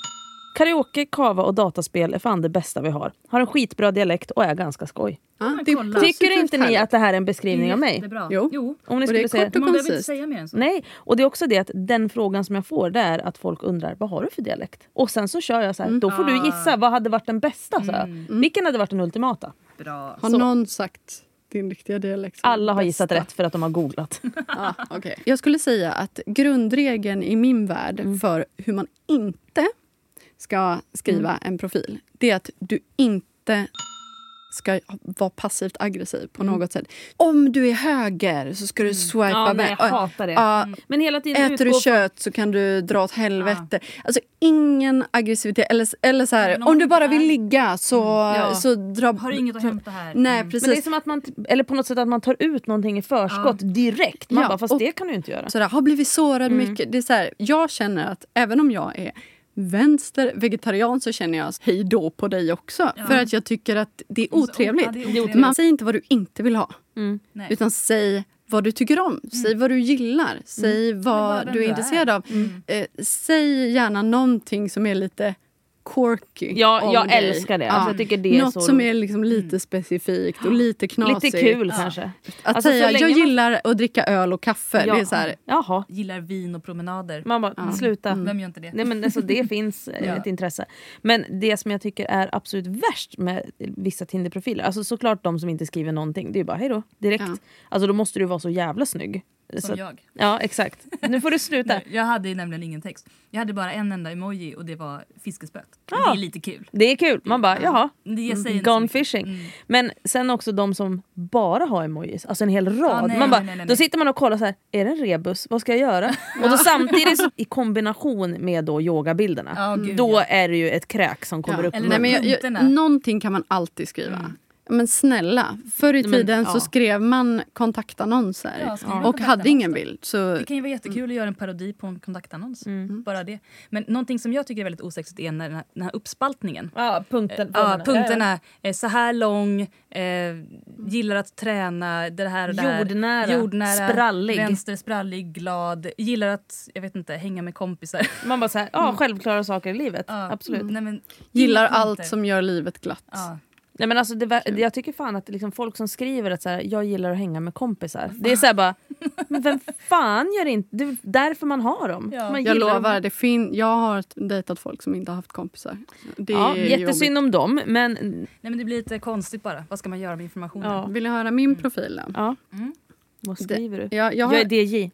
Speaker 2: Karaoke, kava och dataspel är fan det bästa vi har. Har en skitbra dialekt och är ganska skoj.
Speaker 10: Ja,
Speaker 7: men
Speaker 10: det är
Speaker 7: kolla.
Speaker 10: positivt
Speaker 2: Tycker inte ni
Speaker 10: här.
Speaker 2: att det här är en beskrivning av mig?
Speaker 7: Jättebra.
Speaker 10: Jo.
Speaker 7: jo.
Speaker 2: Om ni
Speaker 10: Och det
Speaker 2: skulle
Speaker 10: är
Speaker 2: säga...
Speaker 10: kort och
Speaker 7: Man behöver inte
Speaker 10: koncist.
Speaker 7: säga mer än så.
Speaker 2: Nej, och det är också det att den frågan som jag får det är att folk undrar vad har du för dialekt? Och sen så kör jag så här, då får du gissa vad hade varit den bästa? Så här. Vilken hade varit den ultimata?
Speaker 7: Bra.
Speaker 10: Har någon sagt din riktiga dialekt? som
Speaker 2: Alla har
Speaker 10: bästa?
Speaker 2: gissat rätt för att de har googlat.
Speaker 10: Ja, okej. Jag skulle säga att grundregeln i min värld
Speaker 2: Mm.
Speaker 10: för hur man inte ska skriva
Speaker 2: Mm.
Speaker 10: en profil, det är att du inte ska vara passivt aggressiv på något sätt. Om du är höger så ska du swipa
Speaker 2: Mm. Ja, nej,
Speaker 10: vänster.
Speaker 2: jag hatar det.
Speaker 10: Ja,
Speaker 2: Men hela tiden
Speaker 10: Äter du
Speaker 2: utgår
Speaker 10: kött så kan du dra åt helvete. Alltså ingen aggressivitet. Eller, eller så
Speaker 7: Men
Speaker 10: här,
Speaker 7: om
Speaker 10: om
Speaker 7: du
Speaker 10: du bara
Speaker 7: inte
Speaker 10: vill
Speaker 7: är-
Speaker 10: ligga så,
Speaker 7: ja.
Speaker 10: så dra...
Speaker 7: Har du inget att hämta här?
Speaker 10: Nej,
Speaker 7: Mm.
Speaker 10: precis.
Speaker 2: Men det är som att man, t- eller på något sätt att man tar ut någonting i förskott direkt. Man
Speaker 10: Ja,
Speaker 2: bara, fast
Speaker 10: och-
Speaker 2: det kan du ju inte göra.
Speaker 10: sådär, har blivit sårad
Speaker 2: Mm.
Speaker 10: mycket. Det är så jag känner att även om jag är vänster vegetarian så känner jag hej då på dig också. För att jag tycker att det är otrevligt.
Speaker 7: Ja, det är otrevligt.
Speaker 10: Man säger inte vad du inte vill ha.
Speaker 2: Mm.
Speaker 7: Nej.
Speaker 10: Utan säg vad du tycker om, säg vad du
Speaker 2: Mm.
Speaker 10: gillar, säg vad
Speaker 7: vem
Speaker 10: du är
Speaker 7: du är.
Speaker 10: intresserad av. Eh, säg gärna någonting som är lite quirky.
Speaker 2: Ja,
Speaker 10: om
Speaker 2: jag
Speaker 10: dig.
Speaker 2: älskar det. Alltså, jag tycker det är
Speaker 10: Något
Speaker 2: så
Speaker 10: som
Speaker 2: roligt.
Speaker 10: är liksom lite specifikt och lite knasigt.
Speaker 2: Lite kul kanske.
Speaker 10: Att
Speaker 2: Alltså, så
Speaker 10: säga
Speaker 2: länge
Speaker 10: jag
Speaker 2: man-
Speaker 10: gillar att dricka öl och kaffe. Det är så
Speaker 2: Jaha.
Speaker 7: Gillar vin och promenader.
Speaker 2: Man bara, sluta.
Speaker 10: Mm.
Speaker 7: Vem gör inte det?
Speaker 2: Nej, men alltså, det finns eh, ett intresse. Men det som jag tycker är absolut värst med vissa Tinderprofiler, alltså såklart de som inte skriver någonting, det är ju bara hej då direkt.
Speaker 10: Ja.
Speaker 2: Alltså då måste du vara så jävla snygg. Så
Speaker 7: Som
Speaker 2: att-
Speaker 7: jag.
Speaker 2: Ja, exakt. Nu får du sluta.
Speaker 7: Nej, Jag hade ju nämligen ingen text. Jag hade bara en enda emoji och det var fiskespöet. Men
Speaker 2: Ah.
Speaker 7: Det är lite kul.
Speaker 2: Det är kul. Man bara, jaha.
Speaker 7: Det jag säger inte så
Speaker 2: Gone
Speaker 7: mycket.
Speaker 2: fishing.
Speaker 7: Mm.
Speaker 2: Men sen också de som bara har emojis, alltså en hel rad.
Speaker 7: nej,
Speaker 2: man bara,
Speaker 7: nej, nej, nej,
Speaker 2: Då
Speaker 7: nej.
Speaker 2: sitter man och kollar så här, är det en rebus? Vad ska jag göra? och då samtidigt så, i kombination med då yogabilderna,
Speaker 7: Ja, gud,
Speaker 2: då
Speaker 7: ja.
Speaker 2: är det ju ett kräk som kommer
Speaker 7: Ja,
Speaker 2: upp.
Speaker 7: eller
Speaker 10: Nej, men jag,
Speaker 7: punkterna.
Speaker 10: jag, någonting kan man alltid skriva. Men snälla, förr i tiden så skrev man kontaktannonser
Speaker 7: Ja, skriver
Speaker 10: och hade
Speaker 7: kontaktannonser.
Speaker 10: ingen bild. Så
Speaker 7: Det kan ju vara jättekul att göra en parodi på en kontaktannons. Bara det. Men någonting som jag tycker är väldigt osexigt är när den här, den här uppspaltningen.
Speaker 2: Ja, punkten,
Speaker 7: Ja, punkterna. eh, Så här lång, eh, gillar att träna, det här och det här.
Speaker 2: Jordnära.
Speaker 7: Jordnära.
Speaker 2: Sprallig.
Speaker 7: Vänster, sprallig, glad. Gillar att, jag vet inte, hänga med kompisar.
Speaker 2: Man bara så här, ja, självklara saker i livet.
Speaker 7: Mm. Ja. Mm.
Speaker 2: Absolut.
Speaker 7: Nej, men,
Speaker 10: gillar
Speaker 7: inga punkter.
Speaker 10: allt som gör livet glatt.
Speaker 7: Ja.
Speaker 2: Nej, men alltså det, var- jag tycker fan att det liksom folk som skriver att så här, jag gillar att hänga med kompisar. Det är så här bara, men vem fan gör inte... Det är därför man har dem.
Speaker 7: Ja.
Speaker 2: Man
Speaker 10: Jag
Speaker 2: gillar att-
Speaker 10: lovar, det fin- jag har dejtat folk som inte har haft kompisar. Det
Speaker 2: Ja,
Speaker 10: är
Speaker 2: jättesynd
Speaker 10: jobbigt.
Speaker 2: om dem, men
Speaker 7: Nej, men det blir lite konstigt bara. Vad ska man göra med informationen?
Speaker 2: ja.
Speaker 10: Vill du höra min profil? Då?
Speaker 2: ja.
Speaker 7: Mm.
Speaker 2: Vad skriver du?
Speaker 10: Jag, jag, har,
Speaker 2: Jag är DJ.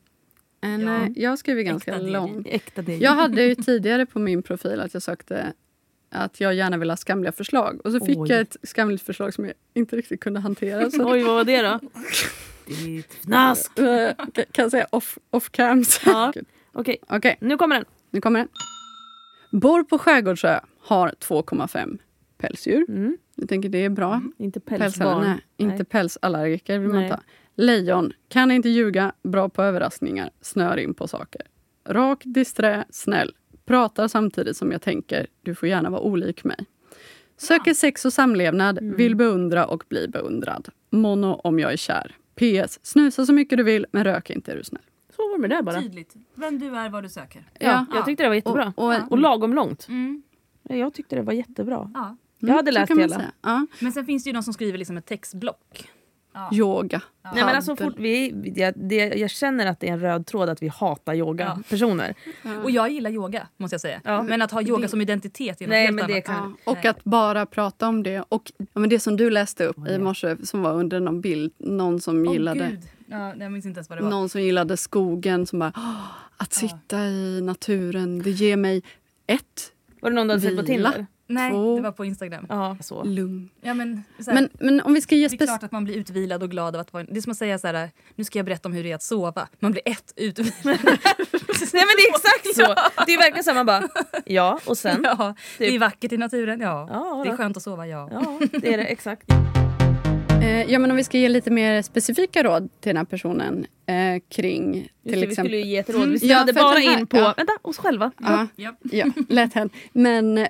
Speaker 10: en,
Speaker 7: Ja.
Speaker 10: eh, jag skriver ganska
Speaker 7: Äkta
Speaker 10: långt.
Speaker 2: Äkta DJ.
Speaker 10: Jag hade ju tidigare på min profil att jag sökte att jag gärna ville ha skamliga förslag. Och så fick
Speaker 2: Oj.
Speaker 10: jag ett skamligt förslag som jag inte riktigt kunde hantera. Så
Speaker 2: Oj, vad var det då? Nask!
Speaker 10: Eh, kan- kan jag säga off, off cam.
Speaker 2: Ja.
Speaker 10: Okej,
Speaker 2: Okej, nu kommer den.
Speaker 10: nu kommer den. Bor på skärgårdsö, har 2,5 pälsdjur.
Speaker 2: Mm.
Speaker 10: Jag tänker det är bra.
Speaker 2: Inte
Speaker 10: Pälsar,
Speaker 2: Mm. pälsbarn.
Speaker 10: nej, inte
Speaker 2: Nej.
Speaker 10: pälsallergiker vill man
Speaker 2: Nej.
Speaker 10: inte ha. Lejon, kan inte ljuga, bra på överraskningar, snör in på saker. Rak, disträ, snäll. Pratar samtidigt som jag tänker, du får gärna vara olik mig. Söker sex och samlevnad,
Speaker 2: Mm.
Speaker 10: vill beundra och bli beundrad. Mono om jag är kär. PS. Snusa så mycket du vill, men rök inte är du snäll.
Speaker 2: Så var det med det bara.
Speaker 7: Tydligt. Vem du är, vad du söker.
Speaker 2: Typ. Ja, jag tyckte det var jättebra. Och,
Speaker 10: Och- och-
Speaker 2: lagom långt.
Speaker 7: Mm.
Speaker 2: Ja, Jag tyckte det var jättebra.
Speaker 7: Ja.
Speaker 2: Jag hade
Speaker 10: Mm, så
Speaker 2: läst
Speaker 10: kan man
Speaker 2: hela.
Speaker 10: säga. Ja.
Speaker 7: Men sen finns det ju de som skriver liksom ett textblock.
Speaker 10: Yoga.
Speaker 2: Nej, men alltså, fort vi, jag, det, jag känner att det är en röd tråd att vi hatar yogapersoner.
Speaker 7: Och jag gillar yoga, måste jag säga. Men att ha yoga som identitet är något
Speaker 2: Nej,
Speaker 7: helt
Speaker 2: men det
Speaker 7: annat.
Speaker 2: kan...
Speaker 10: Och att bara prata om det. Och ja, men det som du läste upp i morse som var under någon bild, någon som
Speaker 7: Åh,
Speaker 10: gillade
Speaker 7: gud. Ja, jag minns inte ens vad det var.
Speaker 10: Någon som gillade skogen som bara "Åh, att sitta i naturen, det ger mig ett,
Speaker 2: Var det någon du hade sett på
Speaker 10: Vila.
Speaker 2: Tinder?
Speaker 7: Nej,
Speaker 10: Två.
Speaker 7: det var på Instagram.
Speaker 2: Ja, så.
Speaker 10: lugn.
Speaker 7: Ja, men, så här,
Speaker 10: Men, men om vi ska ge
Speaker 7: det är klart
Speaker 10: specifikt...
Speaker 7: att man blir utvilad och glad av att vara... Det är som att säga så här, nu ska jag berätta om hur det är att sova. Man blir ett utvilad.
Speaker 2: Nej men det är exakt så! Det är verkligen så här, man bara, ja och sen.
Speaker 7: ja, Det är vackert i naturen, ja.
Speaker 2: Ja,
Speaker 7: det
Speaker 2: ja.
Speaker 7: är skönt att sova, ja.
Speaker 2: Ja, det är det exakt.
Speaker 10: Eh, Ja, men om vi ska ge lite mer specifika råd till den här personen eh, kring
Speaker 2: Just
Speaker 10: till
Speaker 2: det, vi skulle
Speaker 10: exempel... Mm.
Speaker 2: ju ge ett råd. Vi
Speaker 10: Ja,
Speaker 2: snöade
Speaker 10: för att
Speaker 2: bara
Speaker 10: den här-
Speaker 2: in på
Speaker 10: ja.
Speaker 2: vänta, oss själva.
Speaker 10: Ja,
Speaker 7: Japp.
Speaker 10: ja, lätt hänt. Men eh,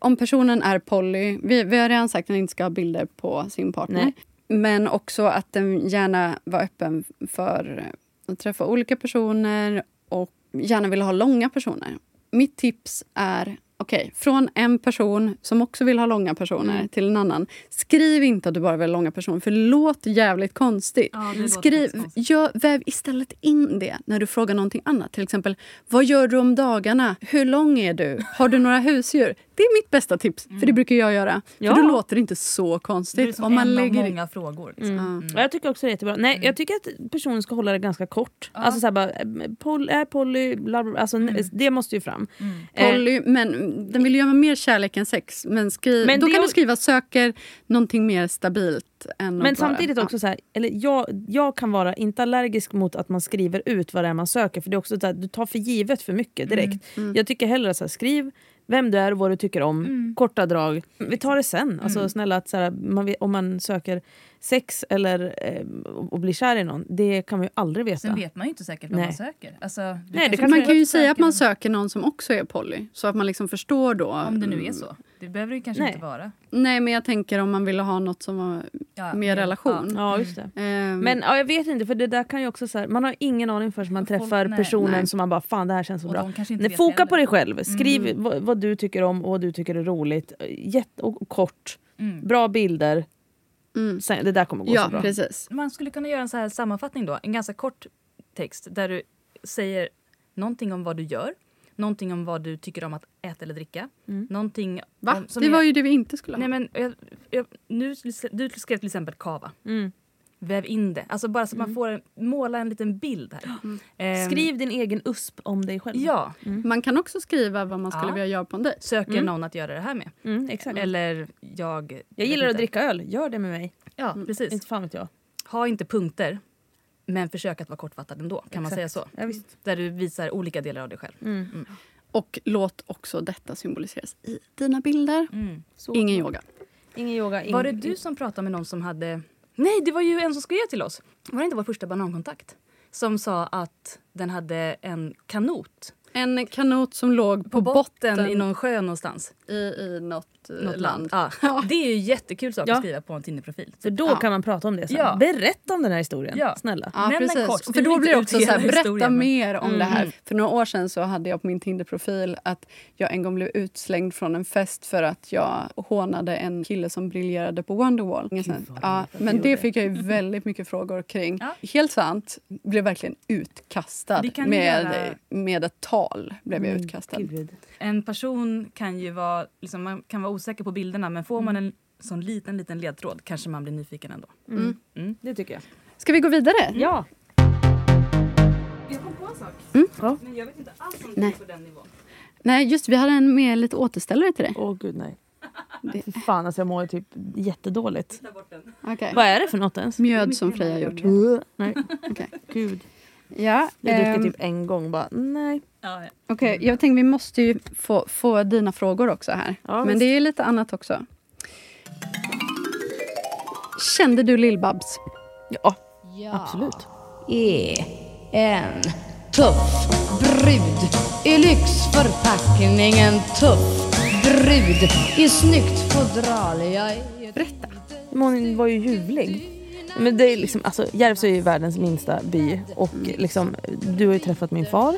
Speaker 10: om personen är poly, vi, vi har redan sagt att den inte ska ha bilder på sin partner.
Speaker 2: Nej.
Speaker 10: Men också att den gärna var öppen för eh, att träffa olika personer och gärna vill ha långa personer. Mitt tips är Okej, från en person som också vill ha långa personer
Speaker 7: Mm.
Speaker 10: till en annan. Skriv inte att du bara vill ha långa personer, för det låter jävligt konstigt.
Speaker 7: Ja, det låter
Speaker 10: Skriv,
Speaker 7: faktiskt konstigt.
Speaker 10: gör, väv istället in det när du frågar någonting annat. Till exempel, vad gör du om dagarna? Hur lång är du? Har du några husdjur? Det är mitt bästa tips, för det brukar jag göra.
Speaker 2: Ja.
Speaker 10: För då låter det inte så
Speaker 7: Mm. Det är
Speaker 10: konstigt.
Speaker 7: som
Speaker 10: typ Om
Speaker 7: en
Speaker 10: man
Speaker 7: av
Speaker 10: lägger...
Speaker 7: många frågor. Liksom.
Speaker 10: Mm.
Speaker 2: Ja, Jag tycker också det är jättebra. Nej, jag tycker att personen ska hålla det ganska kort. Alltså så här bara, eh, pol, är poly, bla, bla, bla. alltså,
Speaker 10: Mm.
Speaker 2: ne- det måste ju fram. Eh,
Speaker 10: Polly, men den vill göra mer kärlek än sex. Men, skriv,
Speaker 2: Men
Speaker 10: då
Speaker 2: det
Speaker 10: kan
Speaker 2: jag-
Speaker 10: du skriva söker någonting mer stabilt. Än att
Speaker 2: Men
Speaker 10: bara-
Speaker 2: samtidigt också så här, eller jag, jag kan vara inte allergisk mot att man skriver ut vad det är man söker för det är också så här, du tar för givet för mycket direkt.
Speaker 7: Mm.
Speaker 2: Jag tycker hellre så här, skriv vem du är och vad du tycker om,
Speaker 7: Mm.
Speaker 2: korta drag. Vi tar det sen. Alltså snälla att så här, man, vet- om man söker sex eller eh, och blir kär i någon, det kan man ju aldrig veta.
Speaker 7: Sen vet man ju inte säkert vad
Speaker 2: Nej.
Speaker 7: man söker. Alltså, du
Speaker 2: det
Speaker 7: kanske
Speaker 2: kan
Speaker 10: Man
Speaker 7: tror
Speaker 10: kan
Speaker 7: att
Speaker 10: ju
Speaker 7: du
Speaker 10: säga att man
Speaker 7: söker-
Speaker 10: söker någon som också är poly. Så att man liksom förstår då. Mm.
Speaker 7: Om det nu är så. Det behöver det ju kanske
Speaker 2: Mm. Nej.
Speaker 7: inte vara.
Speaker 10: Nej, men jag tänker om man vill ha något som var
Speaker 7: Ja,
Speaker 10: mer relation.
Speaker 2: Ja, just
Speaker 7: Mm.
Speaker 2: det.
Speaker 10: Ehm,
Speaker 2: Men ja, jag vet inte, för det där kan ju också så här, man har ingen aning förrän man
Speaker 7: Folk-
Speaker 2: träffar
Speaker 7: nej,
Speaker 2: personen
Speaker 10: nej.
Speaker 2: som man bara fan det här känns så
Speaker 7: Och
Speaker 2: bra.
Speaker 7: de kanske inte
Speaker 2: Nej,
Speaker 7: vet
Speaker 2: foka
Speaker 7: heller.
Speaker 2: på dig sjv, skriv vad, vad du tycker om och vad du tycker är roligt. Jätte, och kort,
Speaker 7: Mm.
Speaker 2: bra bilder.
Speaker 10: Mm.
Speaker 2: Sen, det där kommer gå så
Speaker 10: ja,
Speaker 2: bra.
Speaker 10: precis.
Speaker 7: Man skulle kunna göra en så här sammanfattning då. En ganska kort text där du säger någonting om vad du gör. Någonting om vad du tycker om att äta eller dricka.
Speaker 2: Mm.
Speaker 7: Någonting
Speaker 10: Va?
Speaker 7: Om, som
Speaker 10: det
Speaker 7: är-
Speaker 10: var ju det vi inte skulle ha.
Speaker 7: Nej, men jag, jag, nu, du skrev till exempel kava.
Speaker 2: Mm.
Speaker 7: Väv in det. Alltså bara så att man får en, måla en liten bild här. Ehm,
Speaker 2: Skriv din egen USP om dig själv. Mm.
Speaker 7: Ja,
Speaker 10: Man kan också skriva vad man skulle
Speaker 7: Ja.
Speaker 10: vilja göra på en dejt.
Speaker 7: söker någon att göra det här med.
Speaker 2: Mm, exakt.
Speaker 7: Eller jag...
Speaker 2: Jag gillar att
Speaker 7: inte.
Speaker 2: dricka öl, gör det med mig.
Speaker 7: Ja, precis.
Speaker 2: Inte fan vet jag.
Speaker 7: Ha inte punkter, men försök att vara kortfattad ändå. Kan man
Speaker 2: Exakt.
Speaker 7: säga så?
Speaker 2: Ja, visst.
Speaker 7: Där du visar olika delar av dig själv.
Speaker 2: Mm.
Speaker 10: Och låt också detta symboliseras i dina bilder.
Speaker 7: Mm.
Speaker 2: Så.
Speaker 10: Ingen yoga.
Speaker 2: Ingen yoga. Ingen...
Speaker 7: Var det du som pratade med någon som hade... Nej, det var ju en som skrev till oss. Var det inte vår första banankontakt? Som sa att den hade en kanot
Speaker 10: En kanot som låg på,
Speaker 7: på botten,
Speaker 10: botten
Speaker 7: i någon sjö någonstans.
Speaker 10: i, i något, eh,
Speaker 7: Något land.
Speaker 10: land.
Speaker 7: Ja. Det är ju jättekul sak
Speaker 2: Ja.
Speaker 7: att skriva på en Tinder-profil.
Speaker 2: För då
Speaker 10: Ja.
Speaker 2: kan man prata om det sen.
Speaker 7: Ja.
Speaker 2: Berätta om den här historien,
Speaker 7: Ja.
Speaker 2: snälla.
Speaker 10: Ja,
Speaker 7: Nämn den
Speaker 10: precis.
Speaker 7: kort.
Speaker 10: För
Speaker 7: Skriv
Speaker 10: då
Speaker 7: inte
Speaker 10: blir det
Speaker 7: ut
Speaker 10: också så
Speaker 7: hela
Speaker 10: här, berätta
Speaker 7: historien, Mm. men-
Speaker 10: mer om det här. För några år sedan så hade jag på min Tinder-profil att jag en gång blev utslängd från en fest för att jag hånade en kille som briljerade på Wonderwall. Ja, men det fick jag ju väldigt mycket frågor kring.
Speaker 7: Mm. Ja.
Speaker 10: Helt sant, blev verkligen utkastad
Speaker 7: Det kan ju
Speaker 10: med,
Speaker 7: göra- Mm,
Speaker 10: med ett tal. blev
Speaker 2: Mm.
Speaker 10: jag utkastad.
Speaker 7: En person kan ju vara, liksom, man kan vara osäker på bilderna men får man en sån liten, liten ledtråd kanske man blir nyfiken ändå.
Speaker 2: Det tycker jag.
Speaker 10: Ska vi gå vidare?
Speaker 2: Ja.
Speaker 7: Jag kom på en sak. Men jag vet inte alls om
Speaker 10: Mm. Nej.
Speaker 7: på den nivån.
Speaker 10: Nej, just vi hade en med lite återställare till dig.
Speaker 2: Åh gud nej.
Speaker 10: Det-
Speaker 2: Fy Fan alltså jag mår ju typ jättedåligt.
Speaker 10: Okay.
Speaker 2: Vad är det för något ens?
Speaker 10: Mjöd som Freja gjort.
Speaker 2: Nej.
Speaker 10: Okej.
Speaker 2: Gud.
Speaker 10: Ja,
Speaker 2: Jag
Speaker 10: ehm,
Speaker 2: druckit typ en gång bara nej.
Speaker 7: Ja, ja.
Speaker 10: Okej, jag tänkte vi måste ju få, få dina frågor också här.
Speaker 2: Ja,
Speaker 10: Men
Speaker 2: visst.
Speaker 10: det är lite annat också. Kände du Lill-Babs?
Speaker 2: Ja. Absolut.
Speaker 11: är en tuff brud i lyxförpackningen tuff brud i snyggt fodral. Jag är
Speaker 10: Berätta.
Speaker 2: Men hon var ju ljuvlig. Men det är liksom, alltså, Järvsö är ju världens minsta by och liksom, du har ju träffat min far.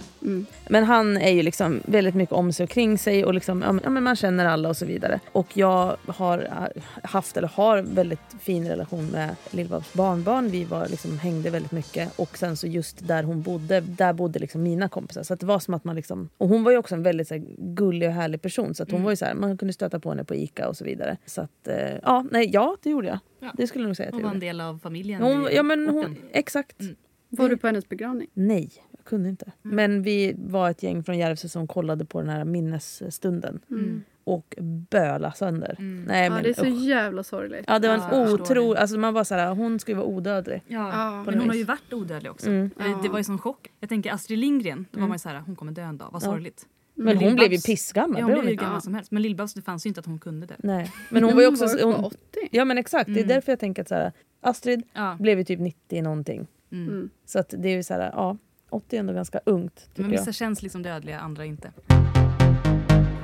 Speaker 2: Men han är ju liksom väldigt mycket om sig och kring sig och liksom, ja, men- ja, men man känner alla och så vidare. Och jag har eh, haft eller har väldigt fin relation med Lill-Babs barnbarn. Vi var, liksom, hängde väldigt mycket och sen så just där hon bodde, där bodde liksom mina kompisar. Så att det var som att man liksom, och hon var ju också en väldigt så här, gullig och härlig person så att hon var ju så här, man kunde stöta på henne på Ica och så vidare. Så att, eh, ja, nej, ja det gjorde jag. Det skulle jag nog säga att
Speaker 7: Hon
Speaker 2: jag
Speaker 7: var en
Speaker 2: gjorde.
Speaker 7: del av familjen.
Speaker 2: Hon,
Speaker 7: i
Speaker 2: ja, men hon,
Speaker 7: orten.
Speaker 2: exakt.
Speaker 7: Mm.
Speaker 10: Var du på hennes begravning?
Speaker 2: Nej, jag kunde inte. Men vi var ett gäng från Järvsö som kollade på den här minnesstunden.
Speaker 7: Mm.
Speaker 2: Och böla sönder. Nej, men, usch.
Speaker 10: jävla sorgligt.
Speaker 2: ja, det var
Speaker 7: Ja, jag
Speaker 2: en
Speaker 7: förstår
Speaker 2: otro...
Speaker 7: det.
Speaker 2: Alltså, man var så här, hon ska ju vara odödlig.
Speaker 7: Ja,
Speaker 10: Ja,
Speaker 2: på
Speaker 7: men hon
Speaker 2: något
Speaker 7: har ju
Speaker 2: vis.
Speaker 7: varit odödlig också.
Speaker 2: Mm.
Speaker 7: Eh, Det, det var ju sån chock. Jag tänker Astrid Lindgren, då var man ju så här, hon kommer dö en dag, vad sorgligt.
Speaker 2: Men hon
Speaker 7: Lill-Babs-
Speaker 2: blev ju pissgammal.
Speaker 7: Ja, hon
Speaker 2: blev
Speaker 7: blev ju
Speaker 2: inte?
Speaker 7: gammal som helst. Men Lill-Babs, det fanns ju inte att hon kunde det.
Speaker 2: Nej. Men hon var ju också...
Speaker 10: hon var
Speaker 2: Hon,
Speaker 10: 80.
Speaker 2: ja, men exakt.
Speaker 7: Mm.
Speaker 2: Det är därför jag tänker att så här, Astrid
Speaker 7: Ja.
Speaker 2: blev ju typ 90 någonting.
Speaker 7: Mm.
Speaker 10: Mm.
Speaker 2: Så att det är ju så här, ja. 80 är ändå ganska ungt, tycker
Speaker 7: Men
Speaker 2: jag.
Speaker 7: vissa känns liksom dödliga, andra inte.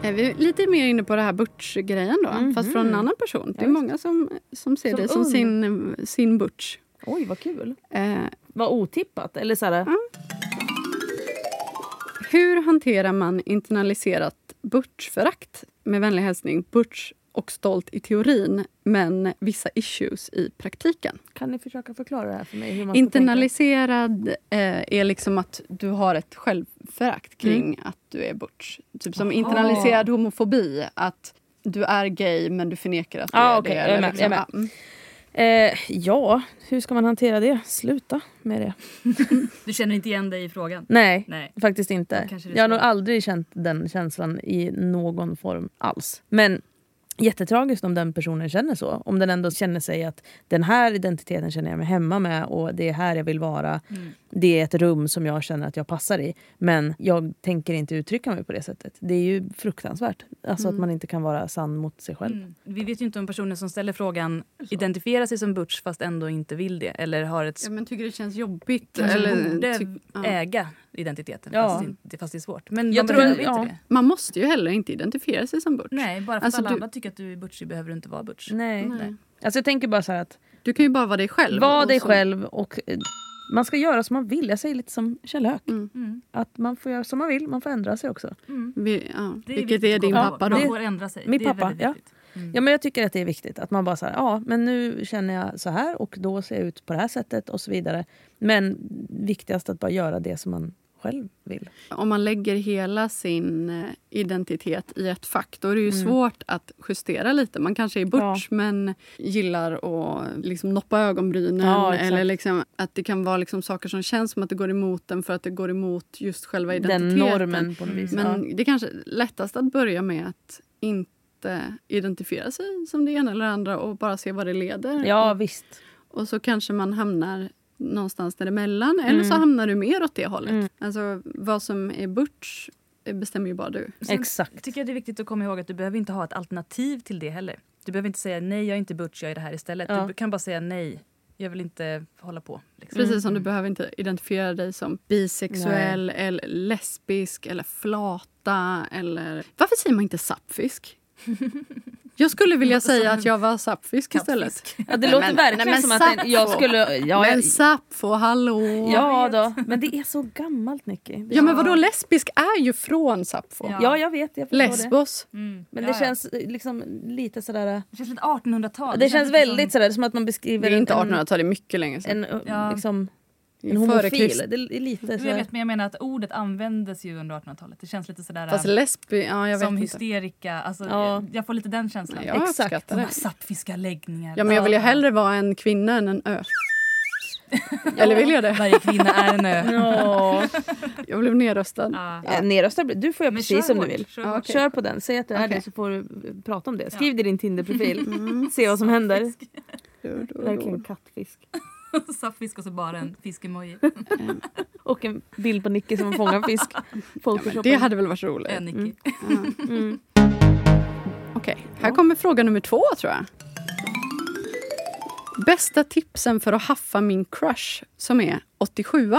Speaker 10: Är vi lite mer inne på det här butch-grejen då, fast från en annan person. Det är många som, som ser
Speaker 2: Mhm. Som
Speaker 10: dig som
Speaker 2: ung.
Speaker 10: sin, sin butch.
Speaker 2: Oj, vad kul.
Speaker 10: Eh,
Speaker 2: Vad otippat. Eller så här,
Speaker 10: hur hanterar man internaliserat butch-förakt? Med vänlig hälsning, butch och stolt i teorin, men vissa issues i praktiken.
Speaker 2: kan ni försöka förklara det här för mig? Hur man ska tänka?
Speaker 10: Internaliserad eh, är liksom att du har ett självförakt
Speaker 2: Mm.
Speaker 10: kring att du är butch. Typ som internaliserad homofobi. Att du är gay men du förnekar att du
Speaker 2: Ja,
Speaker 10: är
Speaker 2: Ah, okej,
Speaker 10: det.
Speaker 2: jag är
Speaker 10: eller
Speaker 2: med, jag är med.
Speaker 10: ja, mm.
Speaker 2: Eh, ja, hur ska man hantera det? Sluta med det.
Speaker 7: Du känner inte igen dig i frågan?
Speaker 2: Nej,
Speaker 7: Nej.
Speaker 2: faktiskt
Speaker 7: Ja,
Speaker 2: inte.
Speaker 7: kanske det
Speaker 2: Jag har
Speaker 7: ska-
Speaker 2: nog aldrig känt den känslan i någon form alls. Men jättetragiskt om den personen känner så. Om den ändå känner sig att den här identiteten känner jag mig hemma med och det är här jag vill vara.
Speaker 7: Mm.
Speaker 2: Det är ett rum som jag känner att jag passar i. Men jag tänker inte uttrycka mig på det sättet. Det är ju fruktansvärt. Alltså att man inte kan vara sann mot sig själv.
Speaker 7: Mm. Vi vet ju inte om personen som ställer frågan identifierar sig som butch fast ändå inte vill det eller har ett
Speaker 10: Ja, men tycker det känns jobbigt.
Speaker 7: kanske
Speaker 10: Eller,
Speaker 7: borde
Speaker 10: tyck- ja.
Speaker 7: äga identiteten
Speaker 2: Ja.
Speaker 7: fast, det inte, fast det är svårt. Men
Speaker 2: Jag
Speaker 7: man
Speaker 2: tror-
Speaker 7: behöver inte
Speaker 2: ja.
Speaker 7: det.
Speaker 10: Man måste ju heller inte identifiera sig som butch.
Speaker 7: Nej, bara för att
Speaker 10: Alltså,
Speaker 7: alla
Speaker 10: du-
Speaker 7: andra tycker att du är butchig behöver du inte vara butch.
Speaker 2: Nej. Alltså jag tänker bara så här att
Speaker 10: Du kan ju bara vara dig själv.
Speaker 2: Var
Speaker 10: och
Speaker 2: dig
Speaker 10: så-
Speaker 2: själv och eh, man ska göra som man vill. Jag säger lite som Kjell Höök.
Speaker 10: Mm.
Speaker 7: Mm.
Speaker 2: Att man får göra som man vill, man får ändra sig också.
Speaker 10: Vi, ja,
Speaker 7: Det
Speaker 10: vilket
Speaker 7: viktigt
Speaker 10: är
Speaker 7: att
Speaker 10: din
Speaker 7: komma ihåg.
Speaker 10: pappa då?
Speaker 7: Man får ändra sig.
Speaker 2: Min
Speaker 7: det är
Speaker 2: pappa,
Speaker 7: väldigt
Speaker 2: ja.
Speaker 7: viktigt.
Speaker 2: Ja, men jag tycker att det är viktigt att man bara så här, ja men nu känner jag så här och då ser jag ut på det här sättet och så vidare. Men viktigast att bara göra det som man själv vill.
Speaker 10: Om man lägger hela sin eh, identitet i ett fack då är det ju
Speaker 2: Mm.
Speaker 10: svårt att justera lite. Man kanske är butch men gillar att liksom noppa ögonbrynen.
Speaker 2: Ja, exakt.
Speaker 10: eller liksom, att det kan vara liksom saker som känns som att det går emot den för att det går emot just själva identiteten.
Speaker 2: Den normen på något vis.
Speaker 7: Mm.
Speaker 10: Men
Speaker 2: ja.
Speaker 10: det är kanske lättast att börja med att inte identifiera sig som det ena eller det andra och bara se vad det leder.
Speaker 2: ja, visst.
Speaker 10: Och så kanske man hamnar någonstans däremellan eller så hamnar du mer åt det hållet. Alltså vad som är butch eh, bestämmer ju bara du.
Speaker 7: Sen
Speaker 2: Exakt.
Speaker 7: tycker jag det är viktigt att komma ihåg att du behöver inte ha ett alternativ till det heller. Du behöver inte säga nej, jag är inte butch, jag är det här istället.
Speaker 2: Ja.
Speaker 7: Du kan bara säga nej, jag vill inte hålla på. Liksom.
Speaker 10: Precis som du behöver inte identifiera dig som bisexuell eller lesbisk eller flata eller... Varför säger man inte sappfisk? Jag skulle vilja säga att jag var sappfisk istället.
Speaker 2: Ja, det låter
Speaker 10: men-
Speaker 2: verkligen
Speaker 10: nej, men
Speaker 2: som att
Speaker 10: Sappho.
Speaker 2: en, jag skulle... Ja,
Speaker 10: men
Speaker 2: jag,
Speaker 10: sappho, hallå!
Speaker 2: ja då. Men det är så gammalt, Nicky. Det-
Speaker 10: Ja, men vadå, lesbisk är ju från sappho.
Speaker 7: Ja.
Speaker 2: Ja, jag vet. Jag förstår det.
Speaker 10: Lesbos.
Speaker 7: Mm.
Speaker 2: Men
Speaker 7: Ja,
Speaker 2: det
Speaker 7: ja.
Speaker 2: känns eh, liksom lite sådär...
Speaker 7: det känns lite 1800-tal.
Speaker 2: Det, känns
Speaker 7: lite
Speaker 2: väldigt
Speaker 7: som,
Speaker 2: sådär som att man
Speaker 10: Det
Speaker 2: beskriver
Speaker 10: är inte
Speaker 2: en-
Speaker 10: 1800-tal, det är mycket längre
Speaker 2: en,
Speaker 10: sedan.
Speaker 2: en,
Speaker 7: Ja.
Speaker 2: liksom,
Speaker 10: Det är
Speaker 2: en
Speaker 10: före
Speaker 2: homofil.
Speaker 10: Krist-
Speaker 2: Det är lite
Speaker 7: Jo, jag
Speaker 2: sådär...
Speaker 7: vet, men jag menar att ordet användes ju under 1800-talet. Det känns lite sådär
Speaker 10: Fast
Speaker 7: äh,
Speaker 10: lesbi... Ja, jag vet
Speaker 7: som
Speaker 10: inte.
Speaker 7: hysterika. Alltså,
Speaker 2: Ja.
Speaker 7: jag, jag får lite den känslan.
Speaker 10: Jag
Speaker 2: Exakt.
Speaker 10: uppskattar
Speaker 7: De här
Speaker 10: det.
Speaker 7: sappfiska läggningar.
Speaker 10: Ja, men jag vill ju hellre vara en kvinna än en ö. Eller vill jag det?
Speaker 7: Varje kvinna är en ö.
Speaker 2: Ja.
Speaker 10: Jag blev nedröstad.
Speaker 7: Ja.
Speaker 2: Ja. Eh, Nerröstad blir- Du får göra
Speaker 7: Men
Speaker 2: precis
Speaker 7: kör
Speaker 2: som du
Speaker 7: hårt,
Speaker 2: vill.
Speaker 7: kör
Speaker 2: Kör,
Speaker 7: hårt.
Speaker 2: på den. Säg att du är
Speaker 10: Okej.
Speaker 2: det så får du eh, prata om det. Skriv det i din Tinder-profil.
Speaker 10: Mm.
Speaker 2: Se vad som händer. Verkligen kattfisk.
Speaker 7: Sappfisk och så bara en fiskemoji.
Speaker 2: Och en bild på Nicky som fångar en fisk. Photoshoppad.
Speaker 10: Det hade väl varit roligt.
Speaker 7: En
Speaker 2: Mm.
Speaker 7: Nicky.
Speaker 10: Okej, här kommer fråga nummer två tror jag. Bästa tipsen för att haffa min crush som är 87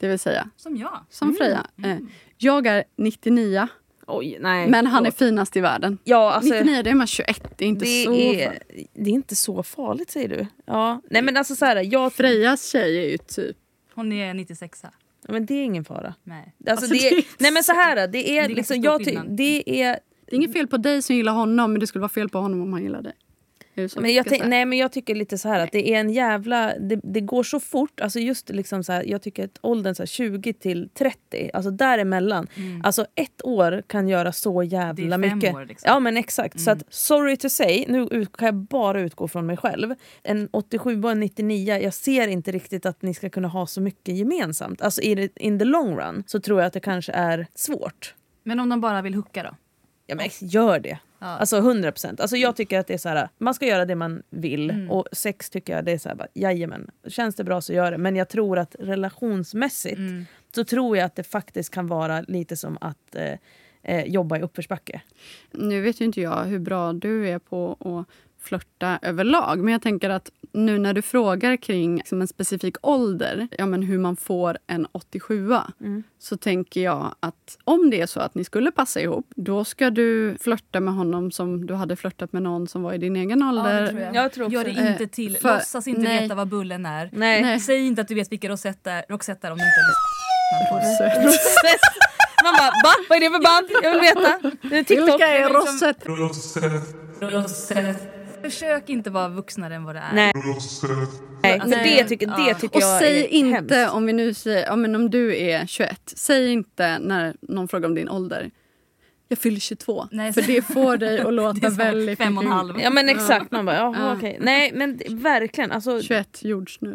Speaker 10: Det vill säga,
Speaker 7: Som jag. Mm.
Speaker 10: som
Speaker 2: Mm.
Speaker 10: Freja. Eh, jag är 99
Speaker 2: Oj, nej.
Speaker 10: men han är
Speaker 2: förlåt.
Speaker 10: finast i världen.
Speaker 2: Ja, alltså,
Speaker 10: 99 det är man 21, det är inte
Speaker 2: det,
Speaker 10: så...
Speaker 2: är, det är inte så farligt säger du. Ja. Nej men alltså så här, jag...
Speaker 10: Frejas tjej är ju typ...
Speaker 7: Hon är 96
Speaker 2: Ja, Men det är ingen fara.
Speaker 7: Nej.
Speaker 2: Alltså,
Speaker 10: Alltså,
Speaker 2: det
Speaker 10: det är-
Speaker 2: är, nej men så här, det är
Speaker 7: Det är
Speaker 2: liksom,
Speaker 7: ganska stor
Speaker 2: jag, ty-
Speaker 7: skillnad.
Speaker 2: det är
Speaker 10: Det är inget fel på dig som gillar honom men det skulle vara fel på honom om han gillar dig. Är det så
Speaker 2: Men
Speaker 10: vi
Speaker 2: jag,
Speaker 10: ska
Speaker 2: tänk-
Speaker 10: säga?
Speaker 2: nej, men jag tycker lite så här att det är en jävla... Det, det går så fort. Alltså just liksom så här, jag tycker att åldern så här 20 till 30, alltså däremellan. Alltså ett år kan göra så jävla
Speaker 7: Det är fem
Speaker 2: mycket.
Speaker 7: år, liksom.
Speaker 2: Ja men exakt. Så att sorry to say, nu ut- kan jag bara utgå från mig själv. En 87 och en 99, jag ser inte riktigt att ni ska kunna ha så mycket gemensamt. Alltså i det- in the long run så tror jag att det kanske är svårt.
Speaker 7: Men om de bara vill hooka då?
Speaker 2: Ja, men gör det. Alltså 100 procent. Alltså, jag tycker att det är så här, man ska göra det man vill. Och sex tycker jag det är så här, bara, jajamän. Känns det bra så gör det. Men jag tror att relationsmässigt så tror jag att det faktiskt kan vara lite som att eh, eh, jobba i uppförsbacke.
Speaker 10: Nu vet ju inte jag hur bra du är på att flörta överlag men jag tänker att nu när du frågar kring liksom en specifik ålder, ja, men hur man får en 87
Speaker 2: Mm.
Speaker 10: så tänker jag att om det är så att ni skulle passa ihop då ska du flörta med honom som du hade flörtat med någon som var i din egen ålder.
Speaker 2: Jag tror också
Speaker 7: Gör
Speaker 10: det.
Speaker 7: det inte till.
Speaker 10: Eh, för-
Speaker 7: Låtsas inte
Speaker 10: nej.
Speaker 7: veta vad bullen är.
Speaker 2: Nej.
Speaker 10: Nej.
Speaker 7: Säg inte att du vet vilka Rosetta är, Roxette är om du inte har lyssnat.
Speaker 2: Process. Man bara, va? Vad är det för band? Jag vill veta. Det är TikTok.
Speaker 10: Vilka är
Speaker 7: liksom-
Speaker 10: Rosset?
Speaker 7: Rosette. Försök inte vara vuxnare än vad det är.
Speaker 2: Nej. Nej, för
Speaker 7: Nej.
Speaker 2: det tycker, det
Speaker 7: Ja.
Speaker 2: tycker
Speaker 10: Och
Speaker 2: jag
Speaker 10: säg
Speaker 2: är
Speaker 10: inte,
Speaker 2: hemskt.
Speaker 10: om vi nu säger, ja, men om du är 21, säg inte när någon frågar om din ålder. Jag fyller 22.
Speaker 7: Nej,
Speaker 10: för
Speaker 7: så-
Speaker 10: det får dig att
Speaker 7: Det
Speaker 10: låta
Speaker 7: är så här
Speaker 10: väldigt...
Speaker 7: fem och en halv.
Speaker 2: Ja men exakt, man bara jaha okej. Nej men det- verkligen alltså.
Speaker 10: 21 jordsnurr.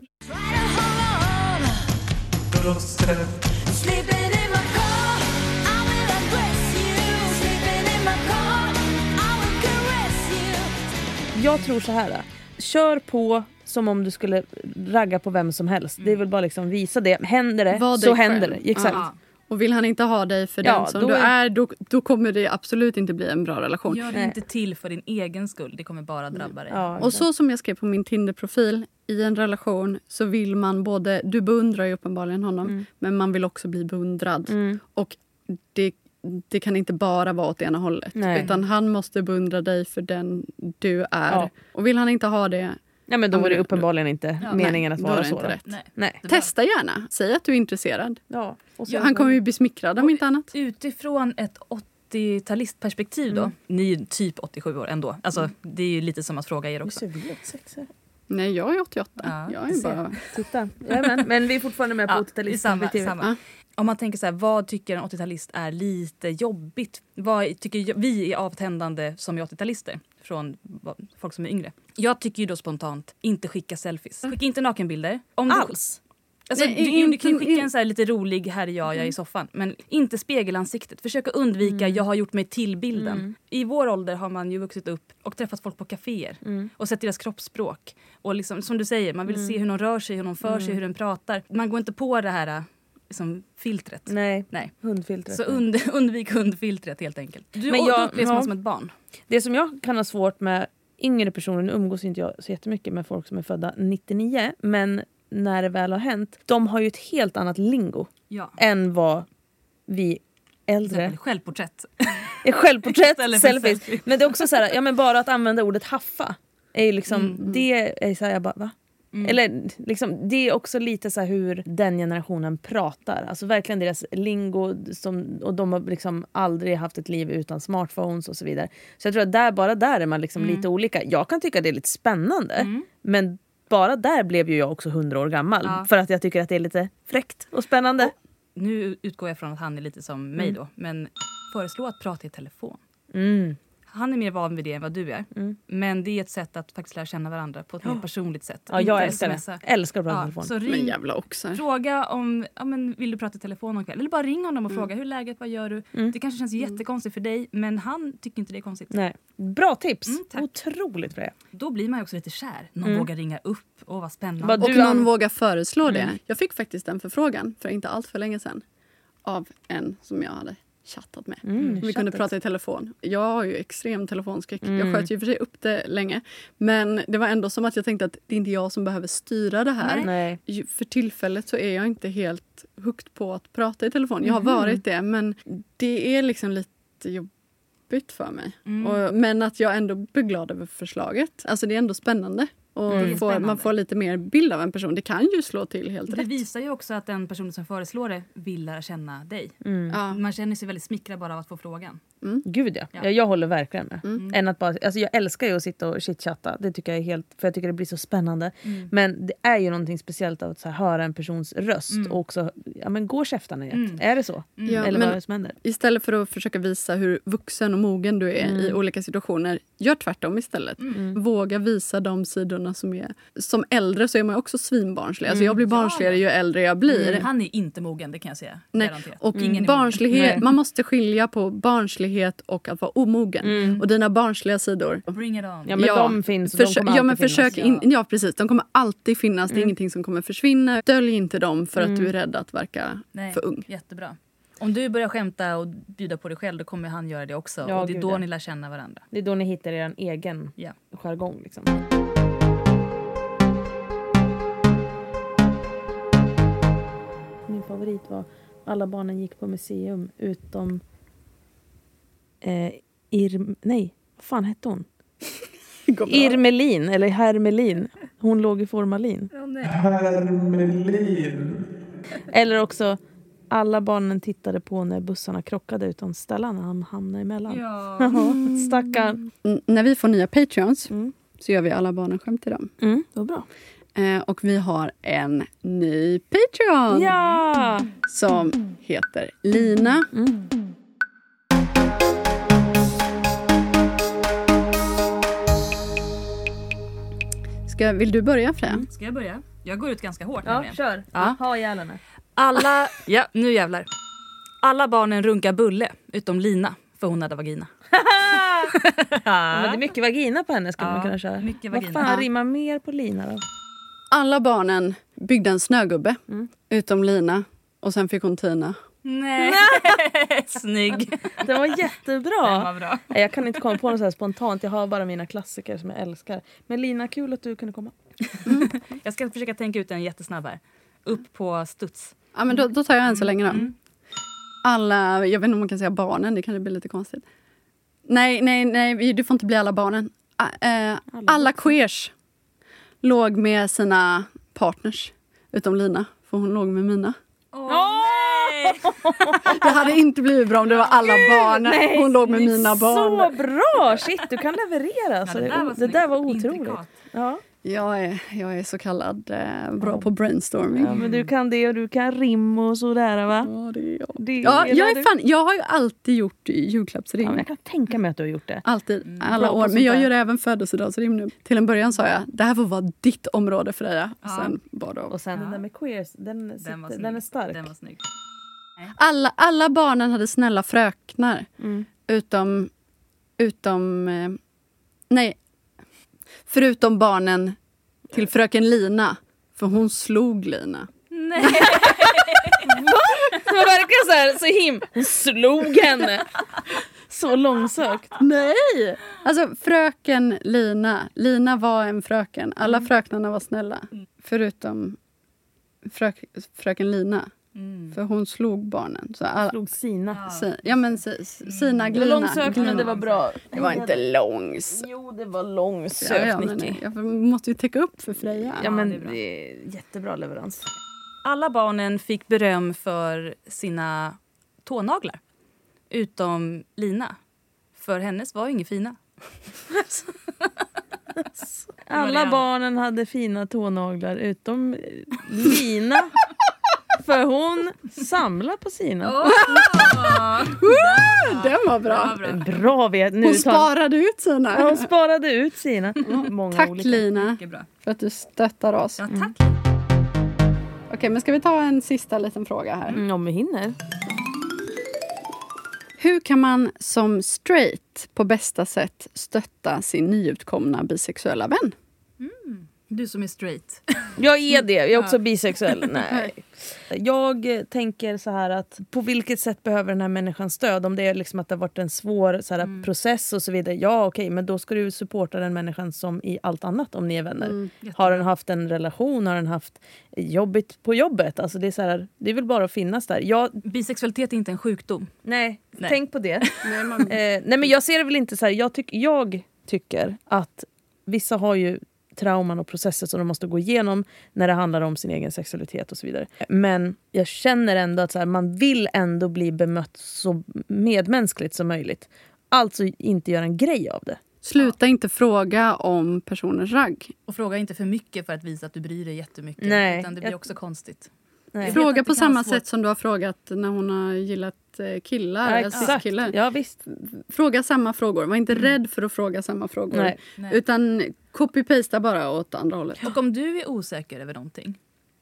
Speaker 2: Jag tror så här. Kör på som om du skulle ragga på vem som helst. Det är väl bara liksom visa det. Händer det
Speaker 10: Mm. Var
Speaker 2: så
Speaker 10: dig
Speaker 2: händer
Speaker 10: själv.
Speaker 2: det. Exakt.
Speaker 7: Ja.
Speaker 10: Och vill han inte ha dig för
Speaker 2: Ja,
Speaker 10: den som
Speaker 2: då
Speaker 10: du
Speaker 2: är-
Speaker 10: är, då, då kommer det absolut inte bli en bra relation.
Speaker 7: Gör det inte till för din egen skull. Det kommer bara drabba dig.
Speaker 2: Ja,
Speaker 10: Och så som jag skrev på min Tinder-profil, i en relation så vill man både... Du beundrar ju uppenbarligen honom,
Speaker 2: Mm.
Speaker 10: men man vill också bli beundrad. Och det, det kan inte bara vara åt ena hållet.
Speaker 2: Nej.
Speaker 10: Utan han måste beundra dig för den du är.
Speaker 2: Ja.
Speaker 10: Och vill han inte ha det,
Speaker 2: ja, men då
Speaker 10: Ja,
Speaker 2: var det
Speaker 10: men-
Speaker 2: uppenbarligen inte
Speaker 7: Ja,
Speaker 2: meningen
Speaker 10: nej,
Speaker 2: att
Speaker 10: då är
Speaker 2: vara
Speaker 10: det
Speaker 2: så.
Speaker 10: inte
Speaker 2: då.
Speaker 10: rätt.
Speaker 7: Nej.
Speaker 2: Nej.
Speaker 7: Det
Speaker 10: testa gärna. Säg att du är intresserad.
Speaker 2: Ja. Och
Speaker 10: Han kommer ju bli smickrad om inte annat.
Speaker 7: Utifrån ett 80-talistperspektiv då. Ni är ju typ 87 år ändå. Alltså, Det är ju lite som att fråga er också.
Speaker 2: Serverat sex här.
Speaker 10: Nej, jag är 88.
Speaker 7: Ja,
Speaker 10: jag
Speaker 7: du
Speaker 10: är
Speaker 7: ser.
Speaker 10: bara...
Speaker 2: Titta. Jajamän, men vi är fortfarande med på
Speaker 7: Ja,
Speaker 2: 80-talistperspektivet.
Speaker 7: samma, samma. Om man tänker så här, vad tycker en 80-talist är lite jobbigt? Vad tycker vi är avtändande som är 80-talister från vad- folk som är yngre? Jag tycker ju då spontant, inte skicka selfies. Skicka inte nakenbilder. Om du-
Speaker 2: Alls.
Speaker 7: Alltså,
Speaker 12: Nej,
Speaker 7: du, du, du kan ju
Speaker 12: inte-
Speaker 7: skicka en så här lite rolig “här är jag, jag är i soffan”. Men inte spegelansiktet. Försök att undvika “jag har gjort mig till”-bilden.
Speaker 2: Mm.
Speaker 7: I vår ålder har man ju vuxit upp och träffat folk på kaféer
Speaker 10: Mm,
Speaker 7: och sett deras kroppsspråk. Och liksom, som du säger, man vill
Speaker 2: Mm.
Speaker 7: se hur någon rör sig, hur någon för sig, hur den pratar. Man går inte på det här äh, liksom, filtret.
Speaker 2: Nej.
Speaker 7: Nej.
Speaker 2: Hundfiltret.
Speaker 7: Så und, undvik hundfiltret helt enkelt. Du,
Speaker 2: Men
Speaker 7: men
Speaker 2: jag-
Speaker 7: jag, då upplevs
Speaker 2: ja.
Speaker 7: man som ett barn.
Speaker 2: Det som jag kan ha svårt med yngre personer, nu umgås inte jag så jättemycket med folk som är födda 99, men när det väl har hänt, de har ju ett helt annat lingo
Speaker 7: Ja.
Speaker 2: än vad vi äldre
Speaker 7: Självporträtt.
Speaker 2: Eh, Självporträtt,
Speaker 7: Istället för
Speaker 2: selfies.
Speaker 7: selfie.
Speaker 2: Men det är också så här, ja, men bara att använda ordet haffa. Är ju liksom,
Speaker 7: Mm,
Speaker 2: Det är så här, jag bara va? Eller, liksom, det är också lite så här hur den generationen pratar. Alltså verkligen deras lingo. Som, och de har liksom aldrig haft ett liv utan smartphones och så vidare. Så jag tror att där, bara där är man liksom
Speaker 7: Mm.
Speaker 2: lite olika. Jag kan tycka det är lite spännande. Men bara där blev ju jag också hundra år gammal.
Speaker 7: Ja.
Speaker 2: För att jag tycker att det är lite fräckt och spännande.
Speaker 7: Nu utgår jag från att han är lite som mig då. Men föreslå att prata i telefon.
Speaker 2: Mm.
Speaker 7: Han är mer van vid det än vad du är. Men det är ett sätt att faktiskt lära känna varandra på ett mer personligt sätt.
Speaker 2: Ja, jag
Speaker 7: Inte
Speaker 2: älskar
Speaker 7: smsa.
Speaker 2: det. Älskar att prata i
Speaker 7: Ja,
Speaker 2: telefon.
Speaker 7: så
Speaker 10: Men
Speaker 7: ring,
Speaker 10: jävla oxar.
Speaker 7: fråga om ja, men vill du prata i telefon någon kväll. Eller bara ring honom och fråga hur är läget, vad gör du? Det kanske känns jättekonstigt för dig men han tycker inte det är konstigt.
Speaker 2: Nej. Bra tips!
Speaker 7: Mm, tack.
Speaker 2: Otroligt bra.
Speaker 7: Då blir man ju också lite kär. Någon vågar ringa upp. Åh vad spännande.
Speaker 2: Vad
Speaker 10: Och
Speaker 2: du
Speaker 10: någon
Speaker 2: an- Mm.
Speaker 10: vågar föreslå det. Jag fick faktiskt den förfrågan för inte allt för länge sedan av en som jag hade chattat med.
Speaker 2: Mm.
Speaker 10: vi kunde prata i telefon. Jag har ju extrem telefonskräck. Jag sköt ju i och för sig upp det länge. Men det var ändå som att jag tänkte att det är inte jag som behöver styra det här.
Speaker 2: Nej.
Speaker 10: Ju- För tillfället så är jag inte helt hooked på att prata i telefon. Jag har varit det, men det är liksom lite jobbigt för mig.
Speaker 7: Mm.
Speaker 10: Och, men att jag ändå blir glad över förslaget. Alltså det är ändå spännande. Och
Speaker 7: Det är
Speaker 10: får, Man
Speaker 7: spännande.
Speaker 10: får lite mer bild av en person. Det kan ju slå till helt
Speaker 7: Det
Speaker 10: rätt.
Speaker 7: visar ju också att den personen som föreslår det vill lära känna dig.
Speaker 10: Ja.
Speaker 7: Man känner sig väldigt smickrad bara av att få frågan.
Speaker 2: Gud ja.
Speaker 7: Ja.
Speaker 2: Jag, jag håller verkligen med. Än att bara, alltså jag älskar ju att sitta och chitchatta. Det tycker jag är helt, för jag tycker det blir så spännande. Men det är ju någonting speciellt av att så här, höra en persons röst och också, ja men går käftarna i ett? Är det så?
Speaker 7: mm.
Speaker 10: Ja,
Speaker 2: Eller vad
Speaker 10: men-
Speaker 2: är det som händer?
Speaker 10: Istället för att försöka visa hur vuxen och mogen du är i olika situationer, gör tvärtom istället. Våga visa de sidorna som är... Som äldre så är man ju också svinbarnslig. Alltså jag blir barnsligare ju äldre jag blir.
Speaker 7: Han är inte mogen, det kan jag säga.
Speaker 10: Nej.
Speaker 7: Garanterat.
Speaker 10: Och
Speaker 2: Mm.
Speaker 7: Ingen är mogen.
Speaker 10: barnslighet, man måste skilja på barnslighet och att vara omogen. Och dina barnsliga sidor.
Speaker 7: Bring it on.
Speaker 2: Ja men de finns och Mm. de
Speaker 10: försö-
Speaker 2: kommer
Speaker 10: ja, men
Speaker 2: alltid
Speaker 10: försök
Speaker 2: finnas. Mm.
Speaker 10: in, ja. precis. De kommer alltid finnas. Det är ingenting som kommer försvinna. Dölj inte dem för att du är rädd att verka
Speaker 7: Nej,
Speaker 10: för ung.
Speaker 7: Jättebra. Om du börjar skämta och bjuda på dig själv då kommer han göra det också.
Speaker 2: Ja,
Speaker 7: och det är
Speaker 2: gud,
Speaker 7: då
Speaker 2: ja.
Speaker 7: ni lär känna varandra.
Speaker 2: Det är då ni hittar er egen
Speaker 7: Ja.
Speaker 2: jargong. Liksom. Min favorit var alla barnen gick på museum utom eh, Irm... Nej, vad fan hette hon? Irmelin, eller Hermelin. Hon låg i formalin. Hermelin. Eller också alla barnen tittade på när bussarna krockade utan Stellan när han hamnade emellan.
Speaker 7: Ja.
Speaker 2: Ja,
Speaker 10: Mm.
Speaker 2: stackarn.
Speaker 10: N- när vi får nya patreons
Speaker 2: Mm.
Speaker 10: så gör vi alla barnen skämt till dem.
Speaker 2: Mm, det var bra.
Speaker 10: Eh, och vi har en ny patreon
Speaker 2: Ja!
Speaker 10: som heter Lina. Ska, vill du börja Freja?
Speaker 7: Ska jag börja? Jag går ut ganska hårt
Speaker 2: Ja,
Speaker 7: nämligen.
Speaker 2: kör.
Speaker 7: Ja.
Speaker 2: Ha ihjäl henne.
Speaker 7: Alla... Ja, nu jävlar. Alla barnen runkar Bulle, utom Lina, för hon hade vagina.
Speaker 2: Ja, men det är mycket vagina på henne skulle man kunna köra.
Speaker 7: mycket
Speaker 2: Vad
Speaker 7: vagina.
Speaker 2: fan
Speaker 7: Ja.
Speaker 2: rimmar mer på lina då?
Speaker 10: Alla barnen byggde en snögubbe, utom Lina. Och sen fick hon Tina.
Speaker 7: Nej! Snygg.
Speaker 2: Det var
Speaker 7: Den var
Speaker 2: jättebra.
Speaker 7: bra.
Speaker 2: Nej, Jag kan inte komma på något så här spontant. Jag har bara mina klassiker som jag älskar. Men Lina, kul att du kunde komma.
Speaker 7: Jag ska försöka tänka ut en jättesnabb här. Upp på studs.
Speaker 10: Ja, men då, då tar jag en så
Speaker 2: Mm,
Speaker 10: länge då. Alla, jag vet inte om man kan säga barnen, det kanske blir lite konstigt. Nej, nej, nej, vi- du får inte bli alla barnen. A- eh, alla queers låg med sina partners, utom Lina. För hon låg med mina.
Speaker 7: Åh nej!
Speaker 10: Det hade inte blivit bra om det var alla barn.
Speaker 2: nej,
Speaker 10: Hon låg med mina barn.
Speaker 2: Så bra! Shit, du kan leverera. Så Alltså, det, det,
Speaker 7: snyggt.
Speaker 2: där var otroligt.
Speaker 7: Intrikat.
Speaker 2: Ja.
Speaker 10: Jag är, jag är så kallad eh, bra på brainstorming.
Speaker 2: ja, men du kan det och du kan rim och sådär va?
Speaker 10: Ja, det är jag.
Speaker 2: Det
Speaker 10: Ja, jag,
Speaker 2: gillar
Speaker 10: är
Speaker 2: du.
Speaker 10: fan, jag har ju alltid gjort
Speaker 2: Ja, men
Speaker 10: julklappsrim.
Speaker 2: jag kan tänka mig att du har gjort det.
Speaker 10: Alltid,
Speaker 2: Mm. Bra
Speaker 10: alla
Speaker 2: på
Speaker 10: år. Men
Speaker 2: sånt
Speaker 10: jag
Speaker 2: där.
Speaker 10: gör även födelsedagsrim nu. Till en början sa jag det här får vara ditt område Freja. Och Sen var det av.
Speaker 2: Och sen den där med queers, den, sitter,
Speaker 7: Den var
Speaker 2: den,
Speaker 7: snygg.
Speaker 2: är stark.
Speaker 7: Den var snygg.
Speaker 10: alla, alla barnen hade snälla fröknar.
Speaker 2: Mm.
Speaker 10: Utom... utom eh, nej. Förutom barnen till fröken Lina. För hon slog Lina.
Speaker 2: Det var verkligen så här, så him. Hon slog henne. Så långsökt.
Speaker 10: Nej! Alltså fröken Lina. Lina var en fröken. Alla
Speaker 2: Mm.
Speaker 10: fröknarna var snälla. Förutom frök, fröken Lina.
Speaker 7: Mm.
Speaker 10: För hon slog barnen. Så alla,
Speaker 2: Slog sina.
Speaker 10: si, ja men si, si- sina
Speaker 2: Det var
Speaker 10: Glina.
Speaker 2: långsökt men det var bra.
Speaker 10: Det var inte långs.
Speaker 2: Jo det var
Speaker 10: Ja,
Speaker 2: långsökt
Speaker 10: ja, men
Speaker 2: Nicky.
Speaker 10: jag måste ju täcka upp för Freja.
Speaker 2: Ja
Speaker 7: det är
Speaker 2: men
Speaker 7: bra.
Speaker 2: det är jättebra leverans.
Speaker 7: Alla barnen fick beröm för sina tånaglar. Utom Lina. För hennes var ju inga fina.
Speaker 2: Alla
Speaker 7: det.
Speaker 2: barnen hade fina tånaglar utom eh, Lina. För hon samlar på sina.
Speaker 10: Den var bra.
Speaker 2: Bra vet nu
Speaker 10: Hon
Speaker 2: tar-
Speaker 10: sparade ut
Speaker 2: Ja,
Speaker 10: sina.
Speaker 2: hon sparade ut sina. Många
Speaker 10: Tack
Speaker 2: olika.
Speaker 10: Lina
Speaker 2: Mm.
Speaker 7: Mycket bra.
Speaker 10: för att du stöttar oss.
Speaker 7: Ja, tack.
Speaker 10: Okej, men ska vi ta en sista liten fråga här?
Speaker 2: Mm, om vi hinner.
Speaker 10: Hur kan man som straight på bästa sätt stötta sin nyutkomna bisexuella vän?
Speaker 7: Du som är straight.
Speaker 2: Jag är det, jag är också bisexuell. Nej. Jag eh, tänker så här att på vilket sätt behöver den här människan stöd? Om det är liksom att det har varit en svår så här, process och så vidare. Ja okej men då ska du supporta den människan som i allt annat om ni är vänner.
Speaker 10: Mm.
Speaker 2: Har den haft en relation? Har den haft jobbigt på jobbet? Alltså det är så här, det är väl bara att finnas där. Jag,
Speaker 7: Bisexualitet är inte en sjukdom.
Speaker 2: nej,
Speaker 7: Nej.
Speaker 2: tänk på det. Eh, nej men jag ser det väl inte så här. Jag, tyck, jag tycker att vissa har ju trauman och processer som de måste gå igenom när det handlar om sin egen sexualitet och så vidare. Men jag känner ändå att så här, man vill ändå bli bemött så medmänskligt som möjligt. Alltså inte göra en grej av det.
Speaker 10: Sluta inte fråga om personers ragg.
Speaker 7: Och fråga inte för mycket för att visa att du bryr dig jättemycket.
Speaker 2: Nej.
Speaker 7: Utan det blir
Speaker 2: Jag-
Speaker 7: också konstigt.
Speaker 2: Nej.
Speaker 7: vet att
Speaker 10: Fråga
Speaker 7: det
Speaker 10: på
Speaker 7: kan
Speaker 10: samma
Speaker 7: vara svårt.
Speaker 10: sätt som du har frågat när hon har gillat eh, killar, eller cis-killar.
Speaker 2: Ja, visst.
Speaker 10: Fråga samma frågor. Var inte rädd för att fråga samma frågor.
Speaker 2: Nej.
Speaker 7: Nej.
Speaker 10: Utan copy-pasta bara åt andra hållet.
Speaker 7: Och om du är osäker över någonting,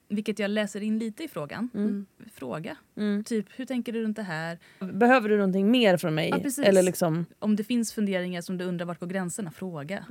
Speaker 7: vilket jag läser in lite i frågan,
Speaker 2: Mm.
Speaker 10: Mm.
Speaker 7: fråga. Typ, hur tänker du runt det här?
Speaker 2: Behöver du någonting mer från mig?
Speaker 7: Ja, precis.
Speaker 2: Eller liksom,
Speaker 7: Om det finns funderingar som du undrar vart går gränserna, fråga.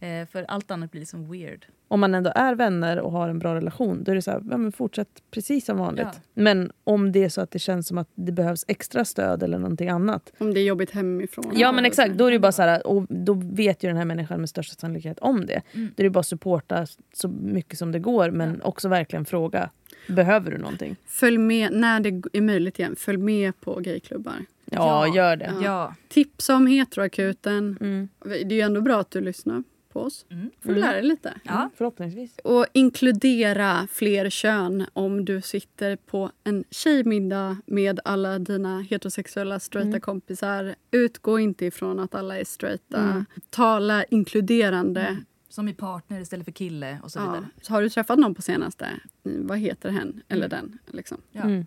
Speaker 7: Eh, för allt annat blir liksom weird.
Speaker 2: om man ändå är vänner och har en bra relation, då är det så här, ja, men fortsätt precis som vanligt.
Speaker 7: Ja.
Speaker 2: Men om det är så att det känns som att det behövs extra stöd eller någonting annat,
Speaker 10: Om det är jobbigt hemifrån.
Speaker 2: Ja men exakt, då är det ju bara så här, och då vet ju den här människan med största sannolikhet om det.
Speaker 7: Mm.
Speaker 2: Då är det bara att supporta så mycket som det går men också verkligen fråga. Behöver du någonting?
Speaker 10: Följ med, när det är möjligt igen, följ med på gayklubbar.
Speaker 2: Ja,
Speaker 7: Ja.
Speaker 2: gör det.
Speaker 7: Ja.
Speaker 10: Tips om heteroakuten.
Speaker 2: Mm.
Speaker 10: Det är ju ändå bra att du lyssnar på oss.
Speaker 7: Mm.
Speaker 10: får du lära dig lite.
Speaker 7: Ja.
Speaker 2: Förhoppningsvis.
Speaker 10: Och inkludera fler kön om du sitter på en tjejmiddag med alla dina heterosexuella straighta
Speaker 7: Mm.
Speaker 10: kompisar. Utgå inte ifrån att alla är straighta.
Speaker 7: Mm.
Speaker 10: Tala inkluderande.
Speaker 7: Som i partner istället för kille Mm, och så
Speaker 10: Ja.
Speaker 7: vidare.
Speaker 10: Så har du träffat någon på senaste, mm, vad heter hen eller den? Liksom.
Speaker 7: Ja.
Speaker 2: Mm.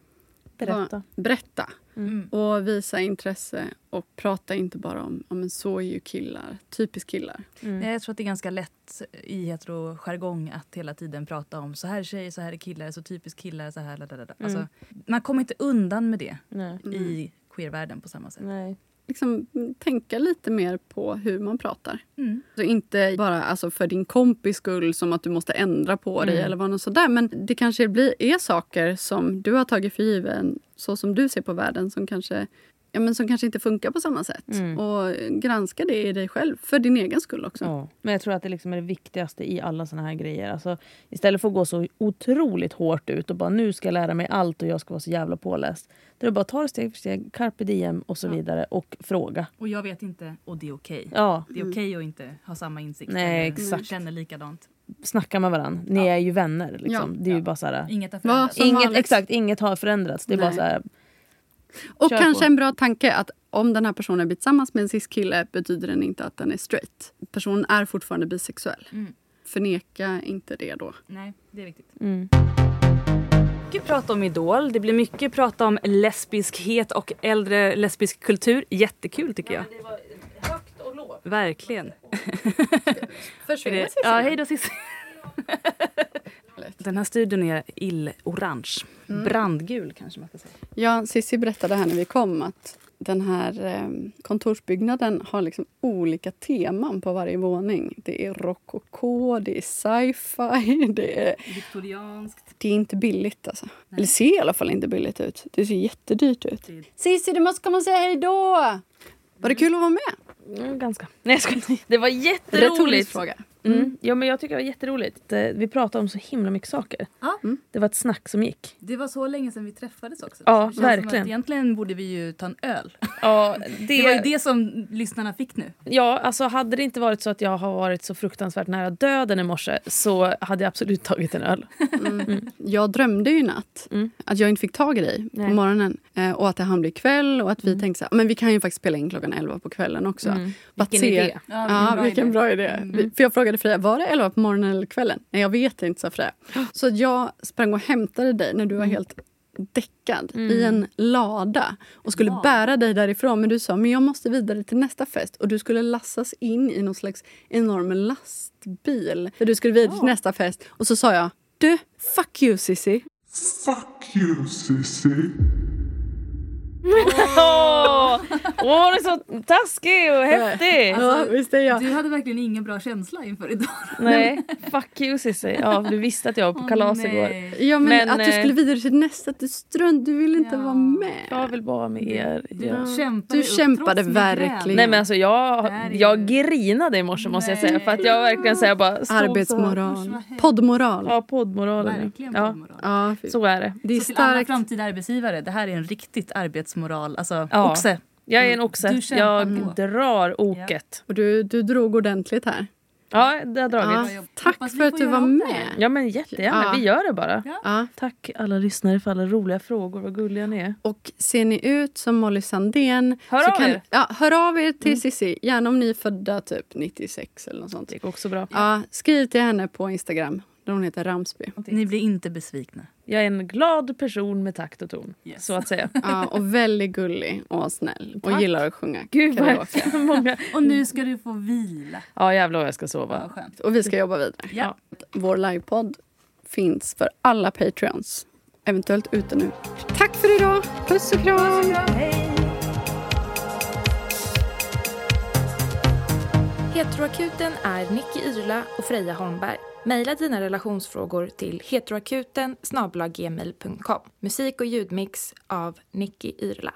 Speaker 2: Berätta.
Speaker 10: Vad- Berätta.
Speaker 7: Mm.
Speaker 10: Och visa intresse och prata inte bara om, ja men så är ju killar, typiskt killar.
Speaker 2: Mm.
Speaker 7: Nej, Eh, Jag tror att det är ganska lätt i hetero-jargong att hela tiden prata om så här är tjejer, så här är killar, så typiskt killar, så här... Da, da, da. Alltså, man kommer inte undan med det
Speaker 2: Nej.
Speaker 7: i queervärlden på samma sätt.
Speaker 2: Nej.
Speaker 10: liksom tänka lite mer på hur man pratar.
Speaker 7: Mm.
Speaker 10: Så inte bara alltså, för din kompis skull, som att du måste ändra på
Speaker 7: Mm.
Speaker 10: dig. eller vad något sådär. Men det kanske blir, är saker som du har tagit för given, så som du ser på världen, som kanske, ja, men som kanske inte funkar på samma sätt.
Speaker 7: Mm.
Speaker 10: Och granska det i dig själv, för din egen skull också.
Speaker 2: Ja. Men jag tror att det liksom är det viktigaste i alla såna här grejer. Alltså, istället för att gå så otroligt hårt ut och bara nu ska jag lära mig allt och jag ska vara så jävla påläst. Då är det bara att ta det steg för steg, carpe diem och så vidare och fråga.
Speaker 7: Och jag vet inte, och det är okej.
Speaker 2: Ja,
Speaker 7: Det är okej att inte ha samma insikt.
Speaker 2: Nej,
Speaker 7: eller
Speaker 2: exakt.
Speaker 7: Känner likadant.
Speaker 2: snacka med varandra. Ni är ju vänner. Liksom.
Speaker 10: Ja.
Speaker 2: Det är ju bara så här,
Speaker 7: Inget har
Speaker 10: Vad
Speaker 7: förändrats.
Speaker 10: som
Speaker 2: Inget,
Speaker 10: vanligt.
Speaker 2: exakt, inget har förändrats. Det är bara
Speaker 10: Nej.
Speaker 2: så här,
Speaker 10: Och
Speaker 2: Kör
Speaker 10: kanske
Speaker 2: på.
Speaker 10: en bra tanke att om den här personen blir tillsammans med en cis-kille betyder den inte att den är straight. Personen är fortfarande bisexuell.
Speaker 7: Mm.
Speaker 10: Förneka inte det då.
Speaker 7: Nej, det är viktigt.
Speaker 2: Mm.
Speaker 7: Mycket prat om Idol. Det blir mycket prat om lesbiskhet och äldre lesbisk kultur. Jättekul tycker jag. Verkligen. Är det- Ja, hej då Cissi. Den här studion är illorange. Brandgul kanske man ska säga.
Speaker 10: Ja, Cissi berättade här när vi kom att den här eh, kontorsbyggnaden har liksom olika teman på varje våning. Det är rokoko, det är sci-fi, det är...
Speaker 7: Viktorianskt.
Speaker 10: Det är inte billigt alltså. Eller ser i alla fall inte billigt ut. Det ser jättedyrt ut.
Speaker 7: Det är-
Speaker 10: Cissi, du måste komma och säga hej då! Var det kul att vara med?
Speaker 2: Mm, ganska. Nej jag skojar. Det var
Speaker 10: Retorisk
Speaker 2: jätteroligt.
Speaker 10: fråga.
Speaker 2: Mm. Ja, men jag tycker det var jätteroligt. Det- Vi pratade om så himla mycket saker.
Speaker 7: Ja.
Speaker 2: Det var ett snack som gick.
Speaker 7: Det var så länge sedan vi träffades också.
Speaker 2: Ja,
Speaker 7: Det känns som att
Speaker 2: verkligen.
Speaker 7: Egentligen borde vi ju ta en öl.
Speaker 2: Ja,
Speaker 7: Det var ju det som lyssnarna fick nu.
Speaker 2: Ja, alltså hade det inte varit så att jag har varit så fruktansvärt nära döden i morse så hade jag absolut tagit en öl.
Speaker 10: Jag drömde ju i natt
Speaker 2: Mm.
Speaker 10: att jag inte fick tag i dig
Speaker 2: Nej. Mm.
Speaker 10: på morgonen. Eh, Och att det hann bli kväll och att vi tänkte så här, men vi kan ju faktiskt spela in klockan 11 på kvällen också. Bara att
Speaker 2: Vilken
Speaker 10: se-
Speaker 2: idé.
Speaker 7: Ja,
Speaker 10: Ja, vilken bra idé. Vi- För jag frågade Freja, var det 11 på morgonen eller kvällen? Nej, jag vet inte, sa Freja. Så jag sprang och hämtade dig när du var helt däckad i en lada och skulle bära dig därifrån. Men du sa, men jag måste vidare till nästa fest. Och du skulle lassas in i någon slags enorm lastbil. För du skulle vidare till nästa fest. Och så sa jag, du, fuck you Sissi.
Speaker 5: Fuck you Cissi.
Speaker 2: Åh, åh, det är så taskig och häftig!
Speaker 10: ja, visst är jag.
Speaker 7: Du hade verkligen ingen bra känsla inför idag.
Speaker 2: Nej, fuck you Cissi. Ja, du visste att jag var på kalas igår.
Speaker 10: Ja, men,
Speaker 2: Men,
Speaker 10: att du
Speaker 2: eh,
Speaker 10: skulle vidare till nästa, att du strunt, du ville inte
Speaker 7: Ja.
Speaker 10: vara med.
Speaker 2: Jag vill bara med er. Ja.
Speaker 7: kämpade,
Speaker 10: Du
Speaker 7: upp
Speaker 10: kämpade
Speaker 7: trots migrän.
Speaker 10: verkligen.
Speaker 2: Nej men alltså jag,
Speaker 7: Det här är
Speaker 2: jag
Speaker 7: ju-
Speaker 2: grinade i morse måste jag säga för att jag
Speaker 7: Nej.
Speaker 2: verkligen säger bara stod så-
Speaker 10: Arbetsmoral.
Speaker 7: Usch, vad hemskt.
Speaker 10: Poddmoral.
Speaker 2: Ja poddmoralen.
Speaker 7: Verkligen
Speaker 2: Ja.
Speaker 7: poddmoral.
Speaker 10: Ja, fy-
Speaker 2: Så är det.
Speaker 10: det är
Speaker 7: Så till alla
Speaker 10: starkt.
Speaker 7: framtida arbetsgivare, det här är en riktigt arbetsmoral. Alltså,
Speaker 2: Ja.
Speaker 7: oxe.
Speaker 2: Jag är en oxe.
Speaker 7: Du kämpar
Speaker 2: Jag
Speaker 7: på.
Speaker 2: drar oket.
Speaker 10: Och du, du drog ordentligt här.
Speaker 2: Ja, det har dragits.
Speaker 10: Ja,
Speaker 7: Hoppas
Speaker 10: tack
Speaker 7: vi
Speaker 10: för att
Speaker 7: får
Speaker 10: du
Speaker 7: göra
Speaker 10: var
Speaker 7: om det.
Speaker 10: med.
Speaker 2: Ja men jättegärna,
Speaker 10: Ja.
Speaker 2: vi gör det bara.
Speaker 10: Ja.
Speaker 2: Tack alla lyssnare för alla roliga frågor, vad gulliga ni är.
Speaker 10: Och ser ni ut som Molly Sandén...
Speaker 2: Hör
Speaker 10: så
Speaker 2: av er.
Speaker 10: Ja, hör av er till Cissi. Gärna om ni är födda typ 96 eller något sånt.
Speaker 2: Det går också bra.
Speaker 10: Ja, skriv till henne på Instagram. där Hon heter Ramsby.
Speaker 7: Ni blir inte besvikna.
Speaker 2: Jag är en glad person med takt och ton.
Speaker 7: Yes.
Speaker 2: Så att säga.
Speaker 10: Ja, och väldigt gullig och snäll. Och
Speaker 2: Tack.
Speaker 10: gillar att sjunga
Speaker 2: Gud vad
Speaker 10: karaoke.
Speaker 2: många.
Speaker 7: Och nu ska du få vila.
Speaker 2: Ja jävlar vad jag ska
Speaker 7: Vad
Speaker 2: sova.
Speaker 7: skönt.
Speaker 10: Och vi ska jobba vidare.
Speaker 7: Ja.
Speaker 10: Vår livepodd finns för alla Patreons. Eventuellt ute nu. Tack för idag! Puss och kram!
Speaker 13: Heteroakuten är Nicky Irla och Freja Holmberg. Mejla dina relationsfrågor till heteroakuten snabla-gmail.com. Musik och ljudmix av Nicky Irla.